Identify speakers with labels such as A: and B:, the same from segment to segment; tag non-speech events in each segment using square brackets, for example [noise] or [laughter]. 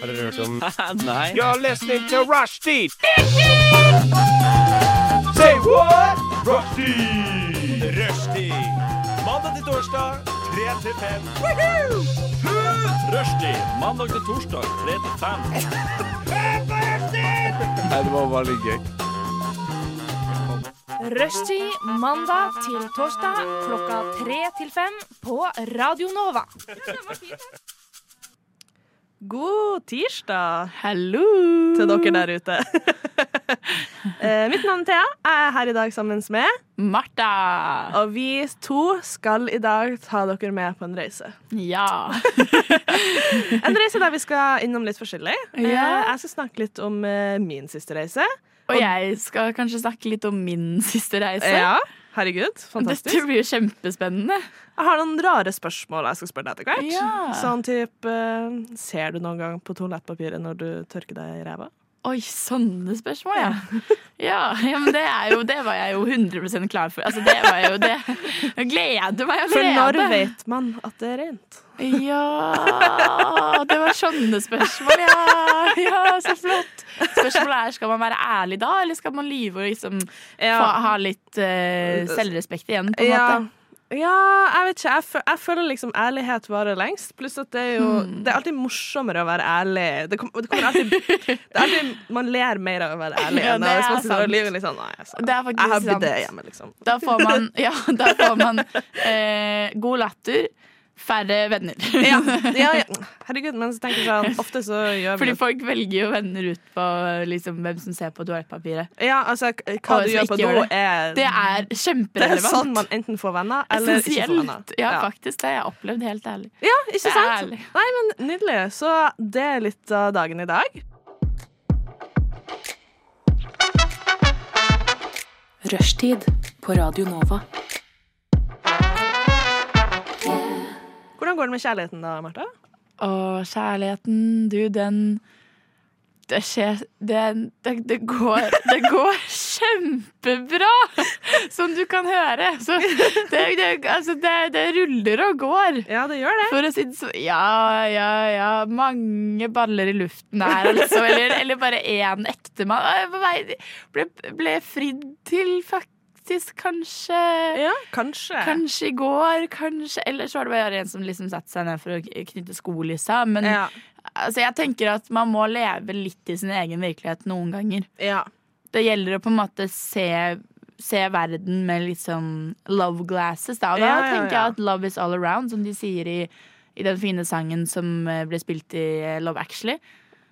A: Har dere hørt om
B: Nei.
A: You're listening to Rushdie! Say what? Rushdie! Rushdie. Mandag til torsdag, 3 til 5. Rushdie. Mandag til torsdag, 3 til 5.
B: Nei, det var bare litt gøy.
C: Rushtid mandag til torsdag klokka tre til fem på Radio Nova.
D: God tirsdag
E: Hallo!
D: til dere der ute. [laughs] Eh, Mitt navn er Thea. Jeg er her i dag sammen med
E: Martha!
D: Og vi to skal i dag ta dere med på en reise.
E: Ja.
D: En reise der vi skal innom litt forskjellig. Eh,
E: Ja.
D: Jeg skal snakke litt om eh, min siste reise.
E: Og jeg skal kanskje snakke litt om min siste reise.
D: Eh, Ja, herregud, fantastisk.
E: Dette blir jo kjempespennende.
D: Jeg har noen rare spørsmål jeg skal spørre deg etter hvert.
E: Ja.
D: Sånn type eh, Ser du noen gang på toalettpapiret når du tørker deg i ræva?
E: Oi, sånne spørsmål, ja. Ja, ja men det, er jo, det var jeg jo 100 klar for. Altså, det var jo det. Jeg gleder meg allerede.
D: For når vet man at det er rent?
E: Ja, det var sånne spørsmål, ja. Ja, så flott. Spørsmålet er, skal man være ærlig da, eller skal man lyve og liksom få, ha litt eh, selvrespekt igjen, på en
D: ja.
E: måte?
D: Ja, jeg vet ikke. Jeg, fø- jeg føler liksom ærlighet varer lengst. Pluss at det er jo
E: Hmm.
D: Det er alltid morsommere å være ærlig. Det, kom, det kommer
E: [laughs]
D: alltid, det er alltid Man ler mer av å være ærlig
E: Ja,
D: enn
E: det
D: hvis
E: er
D: man sitter
E: sant.
D: og lyver litt sånn Nei, altså,
E: Det er faktisk
D: jeg har
E: sant.
D: bidé hjemme, liksom.
E: Da får man, ja, da får man eh, god latter, færre venner.
D: Ja, ja, ja. Herregud, men så tenker jeg sånn Ofte så gjør vi
E: [laughs] Fordi folk velger jo venner ut på liksom, hvem som ser på toalettpapiret.
D: Ja, altså, k- hva
E: Og
D: du
E: så
D: gjør
E: ikke
D: på
E: gjør
D: do,
E: det.
D: er
E: Det er
D: det er
E: kjemperelevant.
D: sånn man enten får venner eller ikke får venner.
E: Essensielt. Ja, faktisk. Det har jeg opplevd, helt ærlig.
D: Ja, ikke
E: Det er
D: sant?
E: ærlig.
D: Nei, men Nydelig. Så det er litt av dagen i dag.
F: Rushtid på Radio Nova.
D: Hvordan går det med kjærligheten da, Martha?
E: Og kjærligheten, du, den det skjer det, det, det, går, det går [laughs] kjempebra, som du kan høre. Så det, det, altså det, det ruller og går.
D: Ja, det gjør det.
E: For å si det sånn Ja, ja, ja. Mange baller i luften her, altså. Eller, eller bare én ektemann. Å, jeg var på vei- Ble, ble fridd til, faktisk, kanskje.
D: Ja, kanskje.
E: Kanskje i går, kanskje Eller så var det bare en som liksom satte seg ned for å knytte skolissa. Men
D: Ja.
E: altså, jeg tenker at man må leve litt i sin egen virkelighet noen ganger.
D: ja.
E: Det gjelder å på en måte se, se verden med litt sånn love glasses. Da, Og da
D: Ja, ja,
E: tenker
D: ja.
E: jeg at love is all around, som de sier i, i den fine sangen som eh, ble spilt i eh, Love Actually.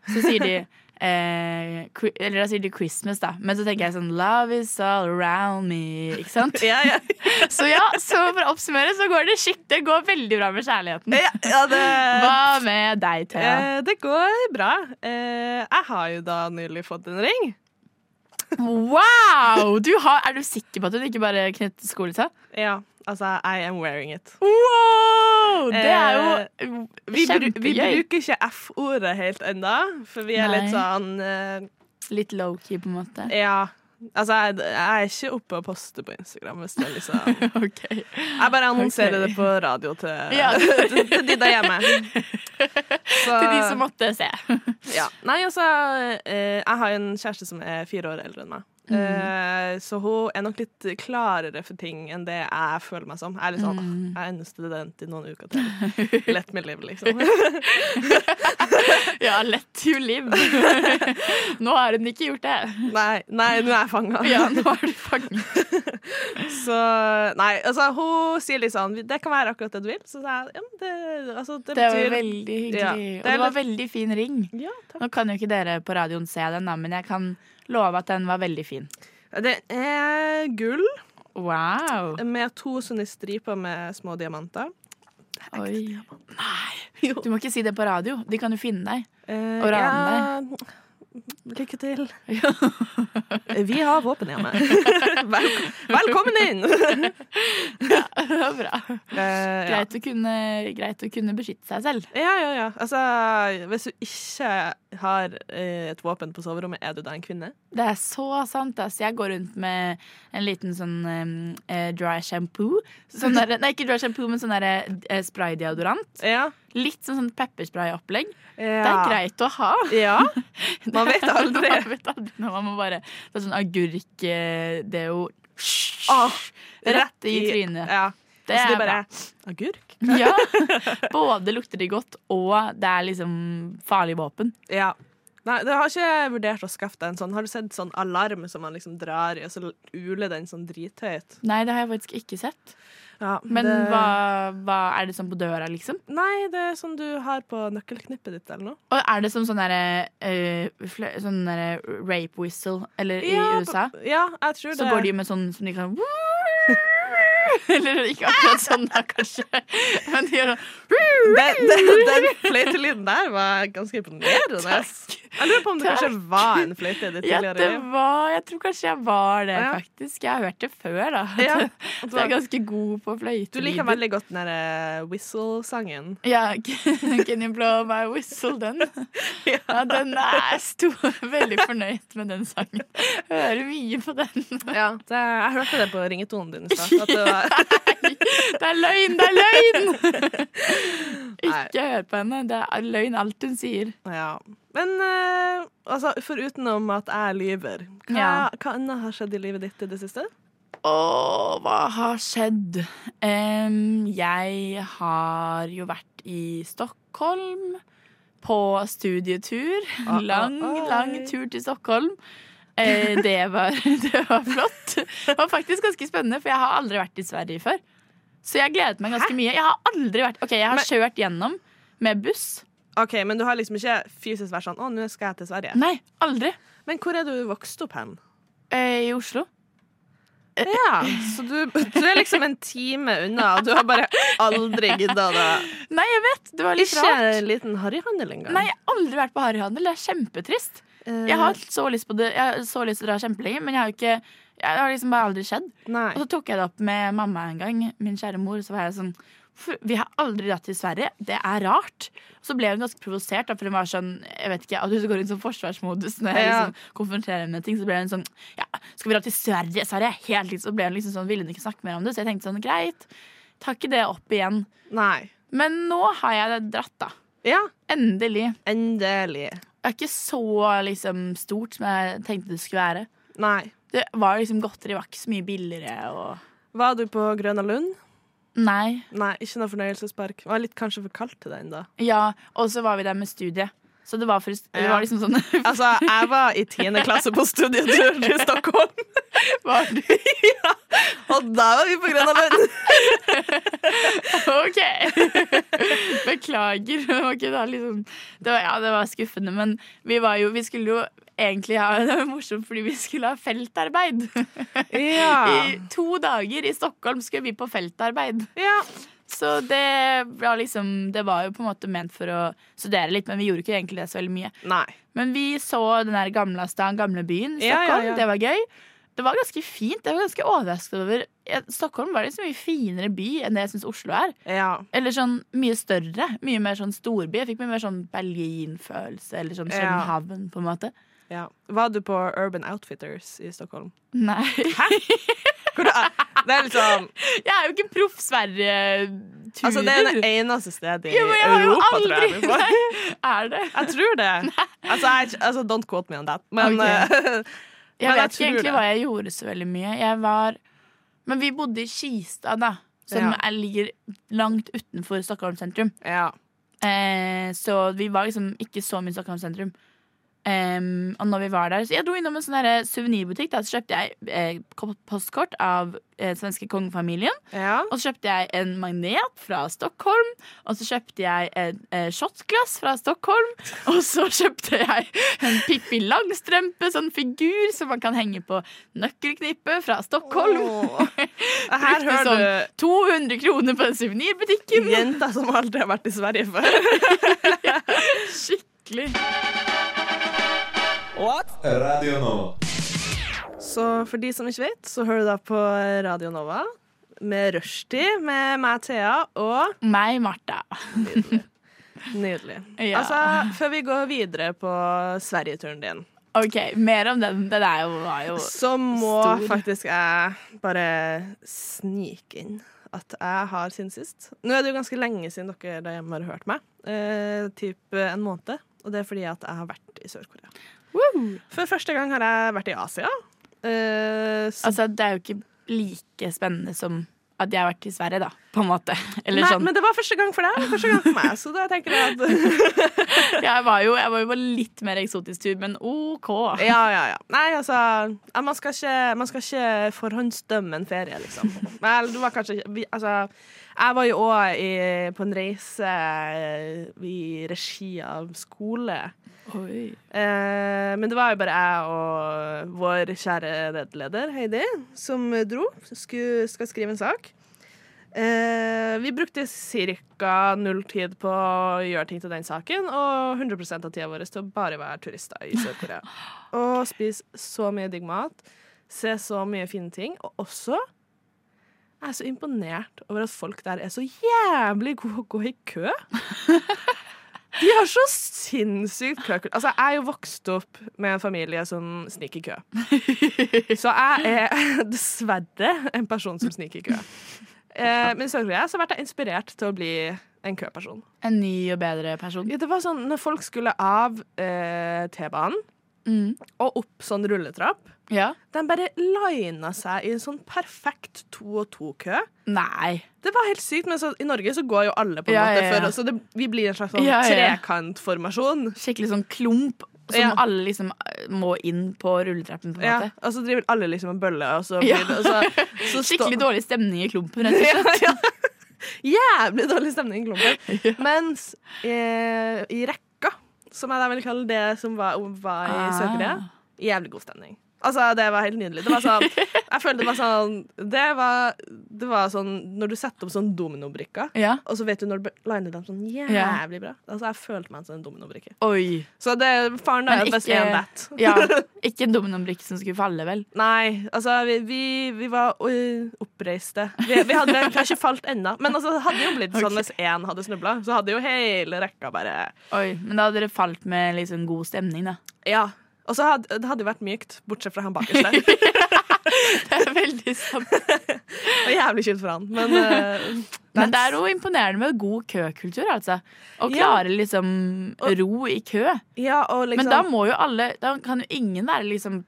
E: Så sier
D: [laughs]
E: de eh, cri- Eller da sier de Christmas, da. Men så tenker jeg sånn Love is all around me. Ikke sant?
D: [laughs] Ja, ja.
E: Så ja, så for å oppsummere så går det skikt. Det går veldig bra med kjærligheten.
D: ja, ja det
E: Hva med deg, Thea?
D: Eh, det går bra. Eh, jeg har jo da nylig fått en ring.
E: Wow! Du har, er du sikker på at hun ikke bare liksom? knyttet skolissa?
D: Ja, altså I am wearing it.
E: Oh, Wow! Det er jo
D: Vi, bru vi
E: Eh, kjempegøy.
D: bruker ikke F-ordet helt ennå, for vi er litt
E: Nei.
D: sånn eh,
E: Litt low-key, på en måte.
D: Ja. Altså, jeg, jeg er ikke oppe og poster på Instagram. Hvis det er liksom
E: [laughs] Ok.
D: Jeg bare annonserer
E: Ok.
D: det på radio til,
E: Ja.
D: til, [laughs] til de der hjemme. Så-
E: [laughs] Til de som måtte se.
D: ja. Nei, altså, eh, jeg har jo en kjæreste som er fire år eldre enn meg.
E: Mm.
D: Eh, så hun er nok litt klarere for ting enn det jeg føler meg som. Jeg er litt sånn, «Åh,
E: Mm.
D: jeg er en student i noen uker
E: [laughs]
D: til. Let me live, liksom.
E: [laughs] Ja, let you live. [laughs] Nå har hun ikke gjort det.
D: Nei, nei nå er jeg fanga.
E: [laughs] Ja, nå er du fanget.
D: Så nei, altså, hun sier litt sånn Det kan være akkurat det du vil. Så sa jeg ja, men det, altså, det,
E: Det var
D: betyr
E: veldig
D: Ja,
E: hyggelig.
D: det
E: Og
D: er
E: det var
D: litt-
E: veldig fin ring.
D: Ja, takk.
E: Nå kan jo ikke dere på radioen se den, da, men jeg kan love at den var veldig fin.
D: Det er gull
E: Wow!
D: med to sånne striper med små diamanter.
E: Oi. [laughs] Nei! Du må ikke si det på radio. De kan jo finne deg.
D: Eh,
E: Og
D: Ja, lykke til.
E: [laughs]
D: Vi har våpen hjemme. Vel, velkommen inn!
E: [laughs] Det var Bra.
D: Eh, ja.
E: [laughs] Greit, å kunne, greit å kunne beskytte seg selv.
D: ja, ja, ja. Altså, hvis du ikke har eh, et våpen på soverommet, er du da en kvinne?
E: Det er så sant. ass. Jeg går rundt med en liten sånn eh, dry shampoo. Sånn der, nei, ikke dry shampoo, men sånn der, eh, spraydeodorant.
D: Ja.
E: Litt sånn, sånn pepperspray-opplegg.
D: Ja.
E: Det er greit å ha.
D: Ja. Man vet aldri.
E: [laughs] man vet aldri når man må bare Det er sånn agurkdeo
D: Åh,
E: [laughs] rett i trynet.
D: Ja.
E: Det
D: så de
E: er bra.
D: bare Agurk?
E: Ja. Både lukter de godt, og det er liksom farlig våpen.
D: Ja. Nei, det har ikke vurdert å skaffe deg en sånn. Har du sett sånn alarm som man liksom drar i, og så uler den sånn drithøyt?
E: Nei, det har jeg faktisk ikke sett.
D: Ja,
E: Men
D: det...
E: hva, hva er det sånn på døra, liksom?
D: Nei, det er sånn du har på nøkkelknippet ditt eller noe.
E: Og er det som sånn derre eh, flø- sånn derre rape whistle eller i USA?
D: Ja, jeg tror
E: Så
D: det.
E: går de med sånn som de kan [laughs] Eller ikke akkurat sånn, da, kanskje. Men de gjør sånn
D: Den,
E: [laughs]
D: den, den fløytelyden der var ganske imponerende. Jeg lurer på om det
E: Takk.
D: kanskje var en fløyte i ditt
E: Ja,
D: tidligere
E: det
D: liv.
E: var Jeg tror kanskje jeg var det,
D: Ja.
E: faktisk. Jeg har hørt det før, da. [laughs]
D: Ja,
E: At
D: at du
E: Jeg er
D: var-
E: ganske god på
D: Altså, Du liker
E: fløytelyder.
D: veldig godt den der eh, whistle-sangen.
E: Ja, [laughs] can you blow my whistle,
D: [laughs]
E: den?
D: Ja.
E: Ja, den er jeg sto [laughs] veldig fornøyd med den sangen. Hører mye på den.
D: Ja, det, jeg hørte det på ringetonen din i stad.
E: [laughs]
D: at det var-
E: Det er løgn, det er løgn! [laughs]
D: Nei.
E: Ikke hør på henne. Det er løgn alt hun sier.
D: Ja. Men eh, altså, forutenom at jeg lyver, hva,
E: Ja.
D: hva annet har skjedd i livet ditt i det siste?
E: Å, hva har skjedd? Em, jeg har jo vært i Stockholm på studietur.
D: Ah,
E: Lang,
D: ah, ah.
E: lang tur til Stockholm. Eh, det, var, [laughs] det var flott. Det var faktisk ganske spennende, for jeg har aldri vært i Sverige før. Så jeg gledet meg ganske mye. Jeg har aldri vært OK, jeg har
D: Men-
E: kjørt gjennom med buss.
D: Ok, Men du har liksom ikke fysisk vært sånn 'Å, nå skal jeg til Sverige'.
E: Nei, aldri.
D: Men hvor er du vokst opp hen?
E: Eh, I Oslo.
D: Ja, så du, du er liksom en time unna, og du har bare aldri gidda det.
E: Nei, jeg vet! Det var litt
D: Ikke
E: rart.
D: en liten harryhandel engang.
E: Nei, jeg har aldri vært på harryhandel. Det er kjempetrist.
D: Eh,
E: Jeg har hatt så lyst på det Jeg har så lyst til å dra kjempelenge, men jeg har jo ikke Jeg har liksom bare aldri skjedd.
D: Eh, nei.
E: Og så tok jeg det opp med mamma en gang, min kjære mor, så var jeg sånn "Hvorfor- vi har aldri dratt til Sverige. Det er rart. Og så ble hun ganske provosert, da, for hun var sånn Jeg vet ikke, at hun går i en sånn forsvarsmodus når jeg
D: Ja.
E: liksom konfronterer henne med ting. Så ble hun sånn Ja, skal vi dra til Sverige? Sverige er helt liksom Så ble hun liksom sånn Ville hun ikke snakke mer om det? Så jeg tenkte sånn Greit, ta ikke det opp igjen.
D: nei.
E: Men nå har jeg det dratt, da.
D: Ja,
E: Endelig.
D: endelig.
E: Det er ikke så liksom, stort som jeg tenkte det skulle være.
D: Nei.
E: Det var liksom godteri, var ikke så mye billigere og
D: Var du på Grøna Lund?
E: Nei.
D: Nei, ikke noe fornøyelsespark. Det var litt kanskje for kaldt til deg ennå.
E: Ja, og så var vi der med studiet. Så det var, for, det
D: Ja.
E: var liksom sånn
D: [laughs]
E: [laughs]
D: Altså, jeg var i tiende klasse på studietur til Stockholm.
E: Var du
D: Og da var vi på Grønland Lund.
E: OK! [laughs] Beklager. Det var ikke da liksom det var, Ja, det var skuffende, men vi var jo Vi skulle jo egentlig ha [laughs] Det var morsomt fordi vi skulle ha feltarbeid.
D: Ja.
E: I to dager i Stockholm skulle vi på feltarbeid.
D: ja.
E: Så det var liksom Det var jo på en måte ment for å studere litt, men vi gjorde ikke egentlig det så veldig mye.
D: Nei.
E: Men vi så den der gamle staden, gamle byen,
D: Ja, ja,
E: Stockholm.
D: ja.
E: Det var gøy. Det var ganske fint. Jeg var ganske overrasket over ja, Stockholm var liksom en mye finere by enn det jeg syns Oslo er.
D: Ja.
E: Eller sånn mye større. Mye mer sånn storby. Jeg fikk mye mer sånn Berlin-følelse, eller sånn
D: Ja.
E: København, på en måte.
D: ja. Var du på Urban Outfitters i Stockholm?
E: Nei.
D: Hvor det er- Det er liksom
E: [laughs] Jeg er jo ikke proff Sverige-turer.
D: Altså, det er det eneste stedet i
E: Ja, men jeg har jo
D: Europa, tror jeg.
E: aldri
D: vi får.
E: [laughs] Er det?
D: Jeg tror det. Altså, jeg, er ikke- altså, don't quote me on that. [laughs] Men
E: Ok.
D: eh,
E: Jeg
D: Men jeg
E: vet ikke
D: tror
E: egentlig
D: det.
E: hva jeg gjorde så veldig mye. Jeg var Men vi bodde i Kista, da. Som
D: Ja.
E: er- ligger langt utenfor Stockholm sentrum.
D: ja.
E: Eh, så vi var liksom ikke så mye i Stockholm sentrum. Em, og når vi var der Så jeg dro innom en sånn der suvenirbutikk. da, Så kjøpte jeg eh, ko- postkort av eh, svenske kongefamilien.
D: ja.
E: Og så kjøpte jeg en magnet fra Stockholm. Og så kjøpte jeg et eh, shotglass fra Stockholm. Og så [laughs] kjøpte jeg en Pippi Langstrømpe, sånn figur som man kan henge på nøkkelknippet fra Stockholm.
D: Åh. Her
E: Brukte
D: hører du
E: 200 kroner på den suvenirbutikken.
D: jenter som aldri har vært i Sverige før.
E: [laughs] Skikkelig.
A: Radio Nova.
D: Så for de som ikke vet, så hører du da på Radio Nova med Rushdie, med meg, Thea, og
E: Meg, Martha.
D: Nydelig.
E: Ja.
D: Altså, før vi går videre på Sverigeturen din,
E: OK, mer om den. Den er jo, var jo
D: så må
E: Stor.
D: faktisk jeg bare snike inn at jeg har siden sist. Nå er det jo ganske lenge siden dere der hjemme har hørt meg. Eh, typ en måned. Og det er fordi at jeg har vært i Sør-Korea. For første gang har jeg vært i Asia. Eh, så,
E: Altså, det er jo ikke like spennende som at jeg har vært i Sverige, da, på en måte. Eller
D: nei,
E: sånn.
D: men det var første gang for deg og første gang for meg. Så da tenker jeg at
E: Jeg var jo, jeg var jo på litt mer eksotisk tur, men OK.
D: [laughs] Ja, ja, ja. Nei, altså ja, man, skal ikke, man skal ikke forhåndsdømme en ferie, liksom. Vel, du var kanskje ikke vi, Altså, jeg var jo òg på en reise eh, i regi av skole.
E: Oi.
D: Eh, men det var jo bare jeg og vår kjære redleder Heidi som dro. Skulle, skal skrive en sak. Eh, vi brukte ca. null tid på å gjøre ting til den saken, og 100 av tida vår til å bare være turister i Sør-Korea. Og spise så mye digg mat, se så mye fine ting, og også jeg er så imponert over at folk der er så jævlig gode å gå i kø. De har så sinnssykt køkult. Altså, jeg er jo vokst opp med en familie som sniker kø. Så jeg er [laughs] dessverre en person som sniker kø. Eh, men i Sør-Korea så ble jeg inspirert til å bli en køperson.
E: En ny og bedre person.
D: Ja, det var sånn når folk skulle av eh, T-banen
E: Mm.
D: og opp sånn rulletrapp,
E: Ja.
D: de bare lina seg i en sånn perfekt to og to-kø.
E: Nei.
D: Det var helt sykt, men så, i Norge så går jo alle på en
E: Ja,
D: måte
E: ja, ja.
D: før, så det, vi blir en slags sånn
E: Ja, ja.
D: trekantformasjon.
E: Skikkelig sånn klump som
D: Ja.
E: alle liksom må inn på rulletrappen, på en
D: Ja,
E: måte.
D: og så driver alle liksom en bølle, og så blir
E: Ja.
D: det og så, så stå-
E: [laughs] Skikkelig dårlig stemning i klumpen, rett og slett.
D: [laughs] Ja, ja. Jævlig dårlig stemning i
E: [laughs]
D: klumpen. Mens eh, i rekka, som jeg da vil kalle det som var, var i Sør-Korea,
E: Ah.
D: jævlig god stemning. Altså, Det var helt nydelig. Det var
E: [laughs]
D: sånn, jeg følte det var sånn Det var, det var sånn Når du setter opp sånn dominobrikker,
E: Ja.
D: og så vet du når du liner dem sånn jævlig bra Altså, Jeg følte meg som en dominobrikke.
E: Oi.
D: Så det, faren
E: Men
D: er jo best
E: ikke-
D: en that.
E: [laughs]
D: [laughs]
E: Ja. Ikke en dominobrikke som skulle falle, vel?
D: Nei, altså vi, vi, vi var ø, oppreiste. Vi, vi hadde vi har ikke falt ennå. Men altså, det hadde jo blitt sånn hvis én hadde snubla, så hadde jo hele rekka bare
E: Oi. Men da hadde dere falt med liksom god stemning,
D: [laughs]
E: da.
D: Ja. Og så hadde det hadde jo vært mykt, bortsett fra han bakerst
E: [laughs]
D: der.
E: Det er veldig sant.
D: Og jævlig kjipt for han. Men eh, ø,
E: Men det er jo imponerende med god køkultur, altså. Å
D: Ja.
E: klare liksom ro i kø.
D: Ja, og liksom
E: Men da må jo alle Da kan jo ingen være liksom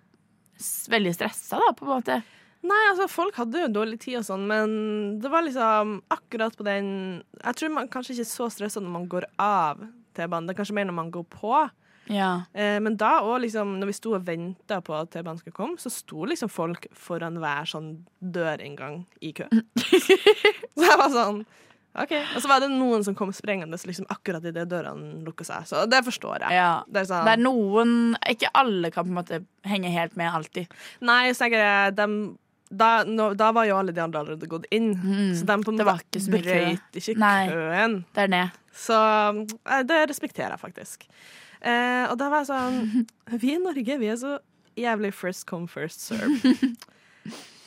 E: s- veldig stressa, da, på en måte.
D: Nei, altså, folk hadde jo dårlig tid og sånn, men det var liksom akkurat på den Jeg tror man kanskje ikke er så stressa når man går av T-banen, det er kanskje mer når man går på.
E: Ja.
D: Eh, men da òg, liksom, når vi sto og venta på at T-banen skulle komme, så sto liksom folk foran hver sånn dørinngang i
E: [laughs]
D: kø. så jeg var sånn OK. Og så var det noen som kom sprengende liksom, akkurat idet dørene lukka seg. Så det forstår jeg.
E: ja.
D: Det er sånn,
E: Det er noen Ikke alle kan på en måte henge helt med alltid.
D: Nei, så tenker jeg dem, da, nå- da var jo alle de andre allerede gått inn. Så de på en
E: Mm. Det var
D: måte
E: ikke så mye kø.
D: brøyt ikke
E: Nei.
D: køen.
E: Det er det.
D: Så eh, det respekterer jeg faktisk. Eh, og da var jeg
E: [laughs]
D: sånn Vi i Norge vi er så jævlig first come, first
E: [laughs]
D: serve.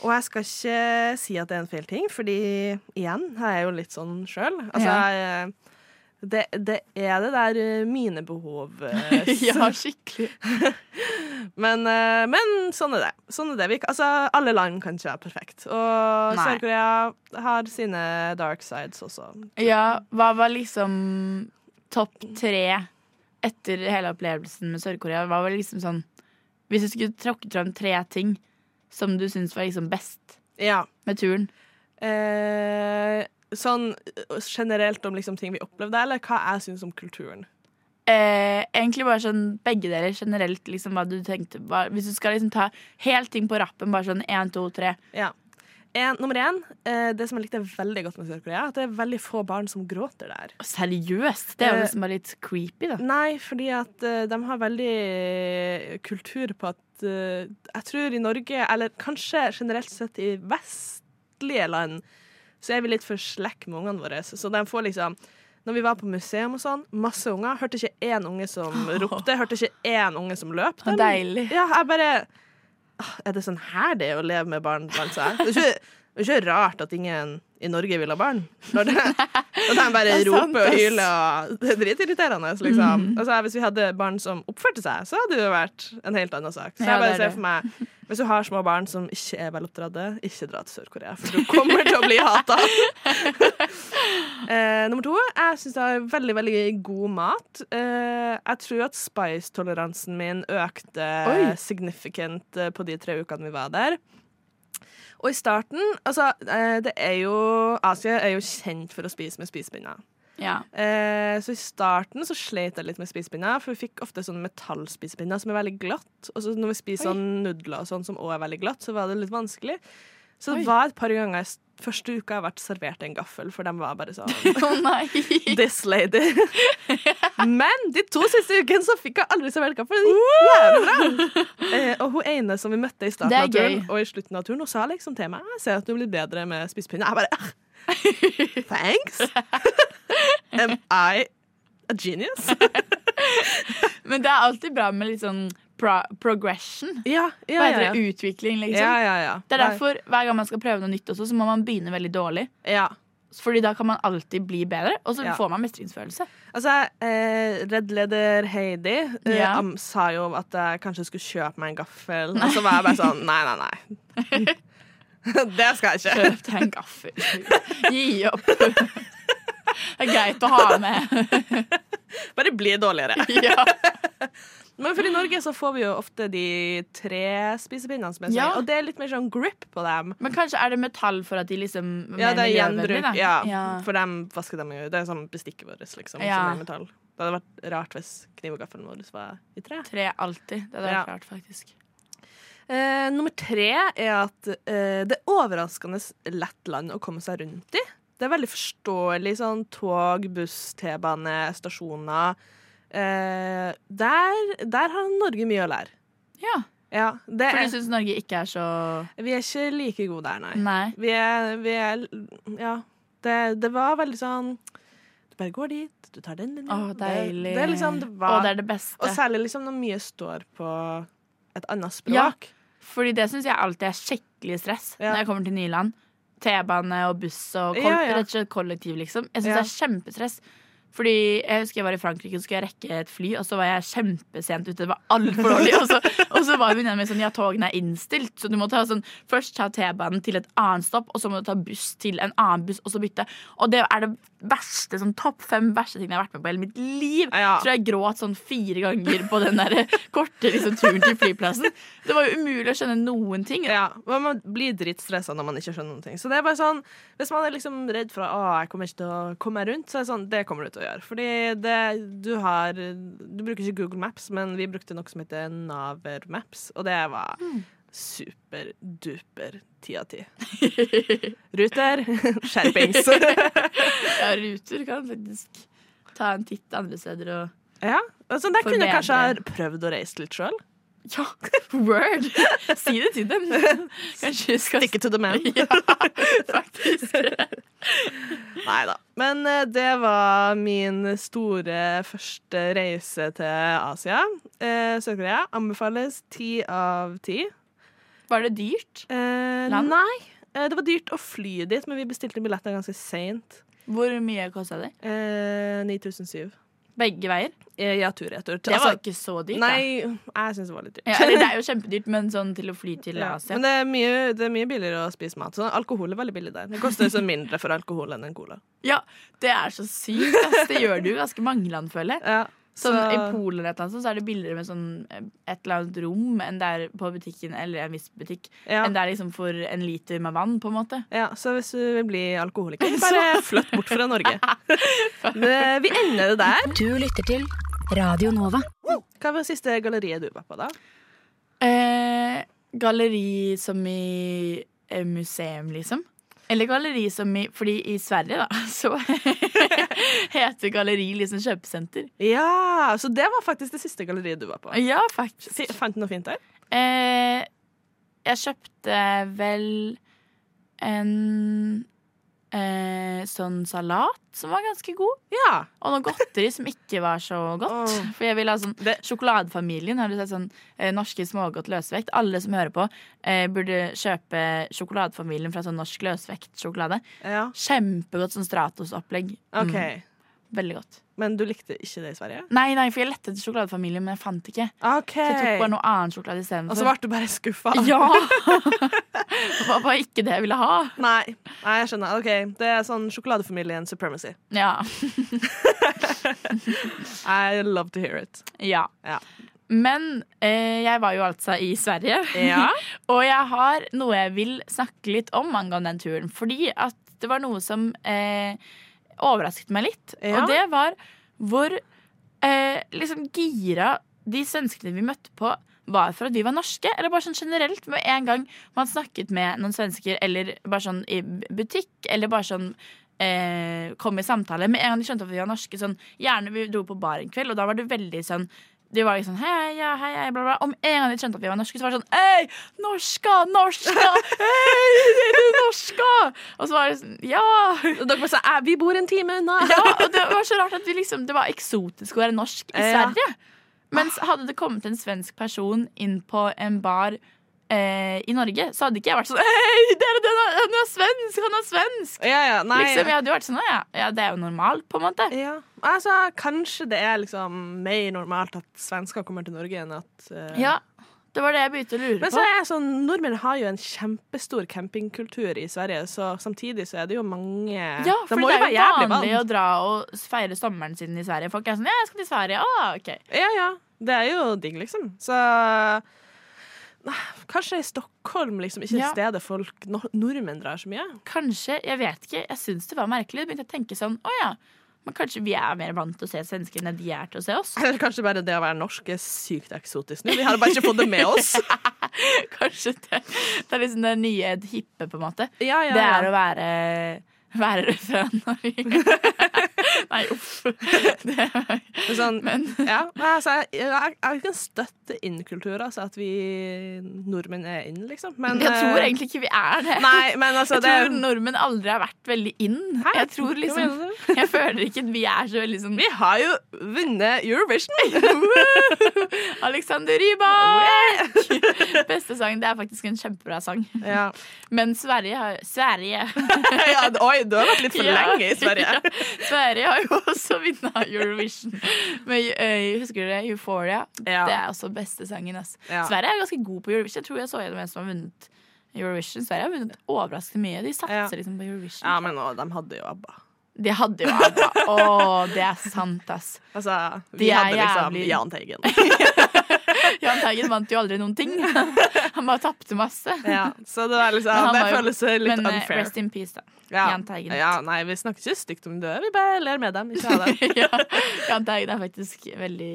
D: Og jeg skal ikke si at det er en feil ting, fordi igjen, her er jeg jo litt sånn sjøl. Altså,
E: Ja.
D: jeg, eh, det, det er det der eh, mine behov
E: [laughs]
D: eh,
E: [laughs] Ja, skikkelig.
D: [laughs] men, eh, men sånn er det. Sånn er det. Vi, altså, alle land kan ikke være perfekt. Og
E: Nei.
D: Sør-Korea har sine dark sides også.
E: Ja, hva var liksom topp tre etter hele opplevelsen med Sør-Korea? Hva var liksom sånn Hvis du skulle tråkket fram tre ting som du syns var liksom best
D: Ja.
E: med turen?
D: Eh, sånn eh, generelt om liksom ting vi opplevde, eller hva jeg syns om kulturen.
E: Eh, egentlig bare sånn begge deler generelt, liksom hva du tenkte hva, Hvis du skal liksom ta helt ting på rappen, bare sånn én, to, tre.
D: Ja. En, nummer én, eh, det som jeg likte veldig godt med Sør-Korea, at det er veldig få barn som gråter der.
E: Seriøst? Det er jo
D: Eh,
E: liksom bare litt creepy, da.
D: Nei, fordi at eh, de har veldig eh, kultur på at eh, Jeg tror i Norge, eller kanskje generelt sett i vestlige land, så er vi litt for slekk med ungene våre. Så de får liksom Når vi var på museum og sånn, masse unger. Hørte ikke én unge som ropte. Hørte ikke én unge som løp.
E: Så Ah, deilig.
D: Ja, jeg bare altså? «Åh, Er det sånn her det er å leve med barn blant seg? Det er ikke, det er ikke rart at ingen i Norge vil ha barn. Når det, og de bare
E: Det er sant,
D: roper og
E: ass. Mm.
D: hyler, og det er dritirriterende, liksom. Altså, hvis vi hadde barn som oppførte seg, så hadde det jo vært en helt annen sak. Så jeg
E: Ja,
D: bare
E: det er
D: ser for meg Hvis du har små barn som ikke er veloppdratte, ikke dra til Sør-Korea, for du kommer til å bli hata. Eh, nummer to, jeg syns det er veldig veldig god mat. Eh, jeg tror at spice-toleransen min økte
E: Oi.
D: significant eh, på de tre ukene vi var der. Og i starten Altså, eh, det er jo Asia er jo kjent for å spise med spisepinner.
E: Ja.
D: Eh, så i starten så slet jeg litt med spisepinner, for vi fikk ofte sånne metallspisepinner som er veldig glatt. Og så når vi spiser
E: Oi.
D: sånn nudler og sånn som også er veldig glatt, så var det litt vanskelig. Så
E: Oi.
D: det var et par ganger jeg s- første uka jeg har vært servert en gaffel, for de var bare sånn
E: [laughs] Å nei!
D: This lady. [laughs] Men de to siste ukene så fikk jeg aldri servert kaffe. Det gikk jævlig bra. Eh, og hun ene som vi møtte i starten
E: Det er
D: av turen,
E: gøy.
D: og i slutten av turen, hun sa liksom til meg Jeg ser at du blir bedre med spisepinne. Jeg bare [laughs] «Ah, Thanks. Am I a genius?
E: Men det er alltid bra med litt sånn pro progression.
D: Ja,
E: Hva
D: ja,
E: heter
D: ja.
E: det? Utvikling, liksom.
D: ja, ja, ja.
E: Det er derfor hver gang man skal prøve noe nytt, også, så må man begynne veldig dårlig.
D: ja.
E: Fordi da kan man alltid bli bedre, og så
D: Ja.
E: får man mestringsfølelse. [laughs]
D: Altså, eh, Red Leder Heidi eh,
E: Ja.
D: am- sa jo at jeg kanskje skulle kjøpe meg en gaffel. Og så var jeg bare sånn Nei, nei, nei. [laughs] Det skal jeg ikke.
E: Kjøp deg en gaffel. Gi opp. [laughs] Det er greit å ha med. [laughs]
D: Bare bli dårligere.
E: Ja.
D: Men for i Norge så får vi jo ofte de tre spisepinnene som er sånn,
E: Ja.
D: og det er litt mer sånn grip på dem.
E: Men kanskje er det metall for at de liksom
D: Ja,
E: mer
D: det er
E: miljøvennlig,
D: gjenbruk.
E: da?
D: Ja,
E: Ja.
D: For dem vasker dem jo. Det er sånn bestikket vårt, liksom,
E: Ja.
D: som er metall. Det hadde vært rart hvis kniv og gaffelen vår var i tre.
E: Tre alltid. Det hadde vært rart, faktisk.
D: Eh, nummer tre er at eh, det er overraskende lett land å komme seg rundt i. Det er veldig forståelig sånn tog, buss, T-bane, stasjoner. Eh, der, der har Norge mye å lære.
E: Ja.
D: Ja, det
E: For du
D: er,
E: syns Norge ikke er så
D: vi er ikke like gode der, nei.
E: Nei.
D: Vi er, vi er Ja. Det, det var veldig sånn Du bare går dit, du tar den linja.
E: Å, deilig.
D: Det, det, er liksom, det
E: Å,
D: var,
E: det er det beste.
D: Og særlig liksom når mye står på et annet
E: Ja.
D: språk.
E: Fordi det syns jeg alltid er skikkelig stress
D: Ja.
E: når jeg kommer til nye land. T-bane og buss og kol
D: Ja, ja.
E: rett og slett kollektiv, liksom. Jeg syns
D: Ja.
E: det er kjempestress. Fordi Jeg husker jeg var i Frankrike og skulle jeg rekke et fly, og så var jeg kjempesent ute. Det var altfor dårlig.
D: [laughs]
E: Og så, og så var venninna mi sånn Ja, togene er innstilt, så du må ta sånn Først ta T-banen til et annet stopp, og så må du ta buss til en annen buss, og så bytte. Og det er det verste, sånn topp fem verste tingene jeg har vært med på i hele mitt liv.
D: Ja.
E: Tror jeg jeg gråt sånn fire ganger på den der korte liksom, turen til flyplassen. Det var jo umulig å skjønne noen ting.
D: Ja, men Man blir dritstressa når man ikke skjønner noen ting. Så det er bare sånn, Hvis man er liksom redd for at «Å, jeg kommer ikke til å komme meg rundt, så er det sånn, det kommer du til å gjøre. Fordi det, du har Du bruker ikke Google Maps, men vi brukte noe som heter Naver Maps, og det var superduper ti av ti. [laughs] Ruter, skjerpings.
E: Ja, ruter kan faktisk ta en titt andre steder og
D: ja, altså, Der kunne jeg kanskje
E: Forbedre.
D: ha prøvd å reise litt sjøl.
E: Ja, word! Si det til dem. Kanskje vi skal
D: Stikke to the man.
E: Ja, faktisk.
D: Nei da. Men eh, det var min store første reise til Asia. Eh, Sør-Korea anbefales ti av ti.
E: Var det dyrt?
D: Eh,
E: Land?
D: nei. Eh, det var dyrt å fly dit, men vi bestilte billetter ganske seint.
E: Hvor mye kosta det?
D: Eh, 9007.
E: Begge veier?
D: Eh, ja, tur-retur.
E: Det var ikke så dyrt, da.
D: Nei, jeg syns det var litt dyrt.
E: Ja, eller det er jo kjempedyrt, men sånn til å fly til
D: Ja,
E: Asia.
D: Men det er, mye, det er mye billigere å spise mat. Så alkohol er veldig billig der. Det koster så mindre for alkohol enn en cola.
E: Ja, det er så sykt. Ass. Det gjør det jo i ganske mange land, føler jeg.
D: Ja,
E: Sånn,
D: så-
E: I Polen eller et eller annet, sånt, så er det billigere med sånn, eh, et eller annet rom enn det er på butikken eller en viss butikk.
D: Ja.
E: Enn det er liksom for en liter med vann, på en måte.
D: Ja, Så hvis du vil bli [laughs] alkoholiker, bare flytt bort fra [laughs] Norge. Det, vi ender det der.
B: Du lytter til Radio Nova.
D: Hva var siste galleriet du var på, da?
E: Eh, galleri som i eh, museum, liksom. Eller galleri som i Fordi i Sverige, da, [laughs] så heter galleri liksom kjøpesenter.
D: Ja, Så det var faktisk det siste galleriet du var på.
E: Ja, faktisk.
D: Si- Fant du noe fint der?
E: Eh, jeg kjøpte vel en eh, sånn salat som var ganske god,
D: Ja.
E: og noe godteri som ikke var så godt.
D: Åh.
E: For jeg ville ha sånn
D: Det-
E: Sjokoladefamilien, har du sett sånn eh, norske smågodt løsvekt? Alle som hører på, eh, burde kjøpe Sjokoladefamilien fra sånn norsk løsvektsjokolade.
D: ja.
E: Kjempegodt sånn Stratos-opplegg.
D: OK.
E: Mm, veldig godt.
D: Men du likte ikke det i Sverige?
E: Nei, nei, for jeg lette etter Sjokoladefamilien, men jeg fant ikke.
D: OK.
E: Så jeg tok bare noe annen sjokolade istedenfor.
D: Og så ble du bare skuffa?
E: Ja! [laughs] det var bare ikke det jeg ville ha.
D: Nei. Nei, jeg skjønner. OK. Det er sånn sjokoladefamilien supremacy.
E: Ja.
D: I love to hear it.
E: ja.
D: Ja.
E: Men eh, jeg var jo altså i Sverige,
D: Ja.
E: [laughs] og jeg har noe jeg vil snakke litt om angående den turen. Fordi at det var noe som eh, overrasket meg litt,
D: Ja.
E: og det var hvor eh, liksom gira de svenskene vi møtte på, var for at vi var norske. Eller bare sånn generelt. Med en gang man snakket med noen svensker, eller bare sånn i butikk, eller bare sånn eh, kom i samtale. Med en gang de skjønte at vi var norske, sånn gjerne vi dro på bar en kveld, og da var det veldig sånn de var liksom hei, ja, hei, hei, bla, bla. Om en gang de skjønte at vi var norske, så var det sånn Hei, norska, norska! Hei, er du norska? Og så var det sånn Ja!
D: Og Dere bare sa «Æ, 'vi bor en time unna'.
E: Ja, og det var så rart at vi liksom, det var eksotisk å være norsk i
D: Ja.
E: Sverige. Mens hadde det kommet en svensk person inn på en bar eh, i Norge, så hadde ikke jeg vært sånn Hei, dere, den er, han er svensk! Han er svensk!
D: Ja, ja, nei.
E: Liksom, jeg hadde jo vært sånn «Å ja, ja, det er jo normalt, på en måte.
D: Ja. Altså, kanskje det er liksom mer normalt at svensker kommer til Norge enn at eh,
E: Ja, det var det jeg begynte å lure
D: Men så
E: på.
D: er jeg sånn, nordmenn har jo en kjempestor campingkultur i Sverige, så samtidig så er det jo mange
E: Ja,
D: De
E: for
D: må
E: det
D: jo
E: er
D: være
E: jo
D: jævlig
E: vanlig å
D: vant.
E: dra og feire sommeren sin i Sverige. Folk er sånn Ja, jeg skal til Sverige. Å, ok.
D: Ja, ja. Det er jo digg, liksom. Så Nei, Kanskje Stockholm liksom ikke er
E: Ja.
D: stedet folk no nordmenn drar så mye.
E: Kanskje, jeg vet ikke, jeg syns det var merkelig. Jeg begynte å tenke sånn, å ja, men kanskje vi er mer vant til å se svensker enn de er til å se oss. [laughs]
D: Eller kanskje bare det å være norsk er sykt eksotisk nå. Vi har bare ikke fått det med
E: [laughs]
D: oss.
E: Kanskje det, det er liksom det nye det hippe, på en måte.
D: Ja, ja,
E: Det
D: ja.
E: er å være, være fra Norge. [laughs] Nei, uff. Det,
D: Men sånn,
E: Men-
D: ja, nei, altså, jeg, jeg, jeg kan støtte inn-kultur, altså at vi nordmenn er inn, liksom. Men,
E: jeg tror
D: eh,
E: egentlig ikke vi er det.
D: Nei, men altså,
E: jeg
D: det
E: tror nordmenn aldri har vært veldig inn.
D: Hæ?
E: Jeg tror liksom,
D: Hva
E: jeg føler ikke at vi er så veldig sånn
D: Vi har jo vunnet Eurovision!
E: Alexander Rybak! Beste sang. Det er faktisk en kjempebra sang.
D: ja.
E: Men Sverige har Sverige!
D: [laughs] ja, oi, du har vært litt for
E: Ja.
D: lenge i Sverige.
E: [laughs] Ja. Sverige har jo også vunnet Eurovision. Men eh, husker dere Euphoria?
D: Ja.
E: Det er også beste sangen. Ass.
D: Ja.
E: Sverige er ganske god på Eurovision. Jeg tror jeg så gjennom en som har vunnet Eurovision. Sverige har vunnet overraskende mye. De satser
D: Ja.
E: liksom på Eurovision.
D: Ja, men å, de hadde jo ABBA.
E: De hadde jo ABBA. Å, det er sant, ass.
D: Altså, vi
E: De er
D: hadde liksom
E: jævlig-
D: Jahn Teigen.
E: Jahn Teigen vant jo aldri noen ting. Han bare tapte masse.
D: [laughs] Ja, så det, er
E: Men
D: liksom,
E: han
D: det
E: var jo-
D: føles litt
E: Men eh,
D: unfair.
E: rest in peace, da.
D: Ja.
E: Jahn Teigen.
D: Ja, nei, vi snakker ikke stygt om døde, vi bare ler med dem. Ikke av dem.
E: [laughs] ja, Jahn Teigen er faktisk veldig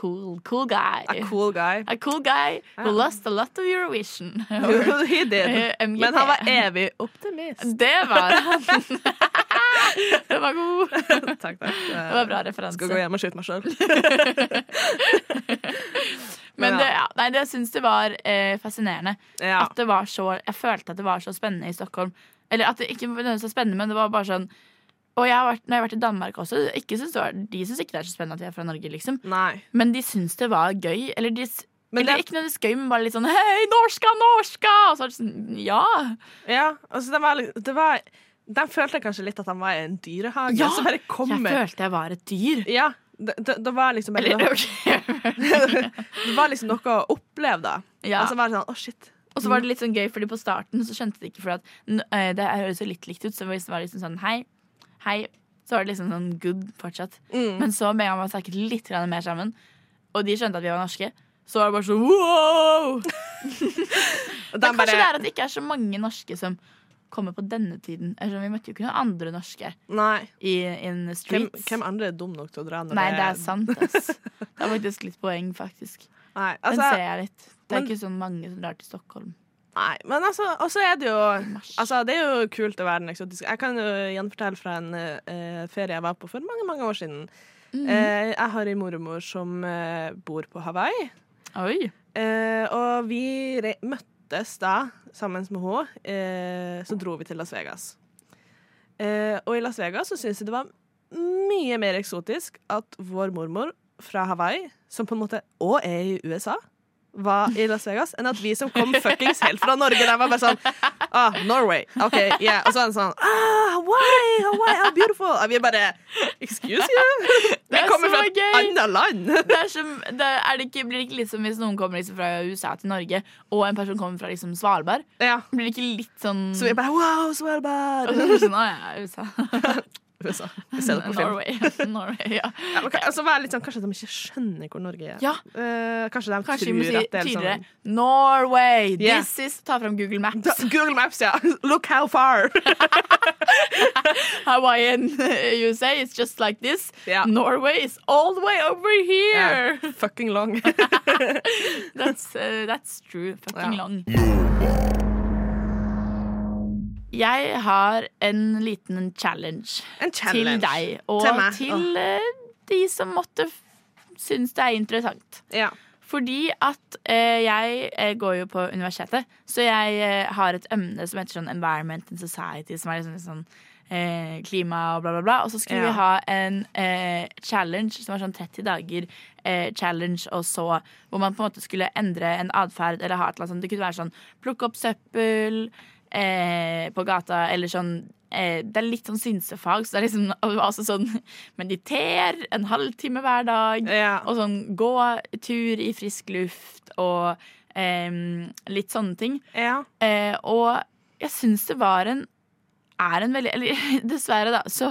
E: cool. Cool guy.
D: A cool guy.
E: A cool guy who
D: Ja.
E: lost a lot of
D: [laughs]
E: Eurovision. [laughs]
D: He did.
E: Eh, MGP.
D: Men han var evig optimist.
E: Det var han. [laughs] Den var god. [laughs]
D: takk, takk.
E: Det var bra
D: Skal gå
E: referanse.
D: hjem og skyte meg [laughs] sjøl.
E: Men det, ja, nei, det syns jeg var eh, fascinerende.
D: Ja.
E: At det var så, jeg følte at det var så spennende i Stockholm. Eller at det ikke var så spennende, men det var bare sånn Og jeg har vært, når jeg har vært i Danmark også, ikke syns det var, de syns ikke det er så spennende at vi er fra Norge, liksom.
D: Nei.
E: Men de syns det var gøy. Eller de s-
D: Men
E: eller
D: det-
E: ikke nødvendigvis gøy, men bare litt sånn Hei, norska, norska! Og så er det sånn, ja.
D: Ja, altså, det var, litt- det var De følte kanskje litt at de var i en dyrehage.
E: Ja,
D: så bare
E: Jeg
D: kommer
E: følte jeg var et dyr.
D: Ja, det, det, det var liksom bare
E: Eller,
D: noe,
E: ok.
D: [laughs] Det var liksom noe å oppleve, da.
E: Ja.
D: Altså bare sånn, å shit
E: Og så var
D: Mm.
E: det litt sånn gøy, fordi på starten så skjønte de ikke for at n- eh, det høres jo litt likt ut. Så hvis det var liksom sånn hei, hei, så var det liksom sånn good fortsatt.
D: Mm.
E: Men så med en gang man snakket litt grann mer sammen, og de skjønte at vi var norske, så var det bare sånn
D: [laughs]
E: wow!
D: De
E: Men
D: bare-
E: kanskje det er at det ikke er så mange norske som kommer på denne tiden. Eller sånn, Vi møtte jo ikke noen andre norske
D: Nei.
E: i in the
D: Hvem,
E: streets.
D: hvem andre er dum nok til å dra når
E: Nei, det er sant, ass. Det er faktisk litt poeng, faktisk.
D: Nei,
E: Den ser
D: altså,
E: jeg litt. Det er
D: men-
E: ikke sånn mange som drar til Stockholm.
D: nei, men altså, og så er det jo Altså, det er jo kult å være en eksotisk Jeg kan jo gjenfortelle fra en eh, ferie jeg var på for mange, mange år siden. Eh, jeg har en mormor som eh, bor på Hawaii.
E: Oi.
D: Eh, og vi re møttes da sammen med henne. Eh, så dro vi til Las Vegas. Eh, og i Las Vegas så syns jeg det var mye mer eksotisk at vår mormor fra Hawaii, som på en måte òg er i USA, var i Las Vegas, enn at vi som
E: [laughs]
D: kom fuckings helt fra Norge, der var bare sånn Ah, Norway. OK, yeah. Og så er det sånn Ah, Hawaii, Hawaii, how beautiful. Og vi bare Excuse you? Vi
E: [laughs] Det er
D: kommer
E: så
D: fra et
E: gøy.
D: annet land. [laughs]
E: Det er som, det er det ikke, blir det ikke litt som hvis noen kommer liksom fra USA til Norge, og en person kommer fra liksom Svalbard?
D: Ja.
E: Blir det ikke litt sånn
D: Så vi bare Wow, Svalbard.
E: [laughs] Og [laughs] så blir det sånn, Å ja, USA.
D: USA. Vi ser det
E: [laughs]
D: på film.
E: Norway. Norway ja.
D: Ja, men ka- altså, vær litt sånn, kanskje de ikke skjønner hvor Norge er.
E: Ja.
D: Eh, kanskje de
E: Kanskje vi
D: tror
E: må si
D: at det er
E: tydeligere
D: [laughs] sånn
E: Norway.
D: Yeah.
E: This is Ta fram Google Maps.
D: Google Maps, ja. [laughs] Look how far.
E: [laughs] Hawaiian [laughs] USA is just like this.
D: Ja.
E: Norway is all the way over [laughs] [laughs] here.
D: Fucking long.
E: That's, uh, that's true. Fucking
D: Ja.
E: long. Jeg har en liten challenge.
D: En
E: til
D: challenge.
E: deg og
D: Til
E: til,
D: meg.
E: eh, de som måtte f- synes det er interessant.
D: Ja.
E: Fordi at eh, jeg eh, går jo på universitetet, så jeg eh, har et emne som heter sånn Environment and Society, som er liksom litt sånn eh, klima og bla, bla, bla. Og så skulle
D: Ja.
E: vi ha en eh, challenge som var sånn 30 dager eh, challenge, og så hvor man på en måte skulle endre en atferd eller ha et eller annet sånt. Det kunne være sånn plukke opp søppel eh, på gata, eller sånn eh, det er litt sånn synsefag, så det er liksom [laughs] og det var også sånn mediter en halvtime hver dag.
D: Ja.
E: Og sånn gå tur i frisk luft og em, litt sånne ting.
D: ja.
E: Eh, og jeg syns det var en er en veldig, eller [laughs] Dessverre, da, så,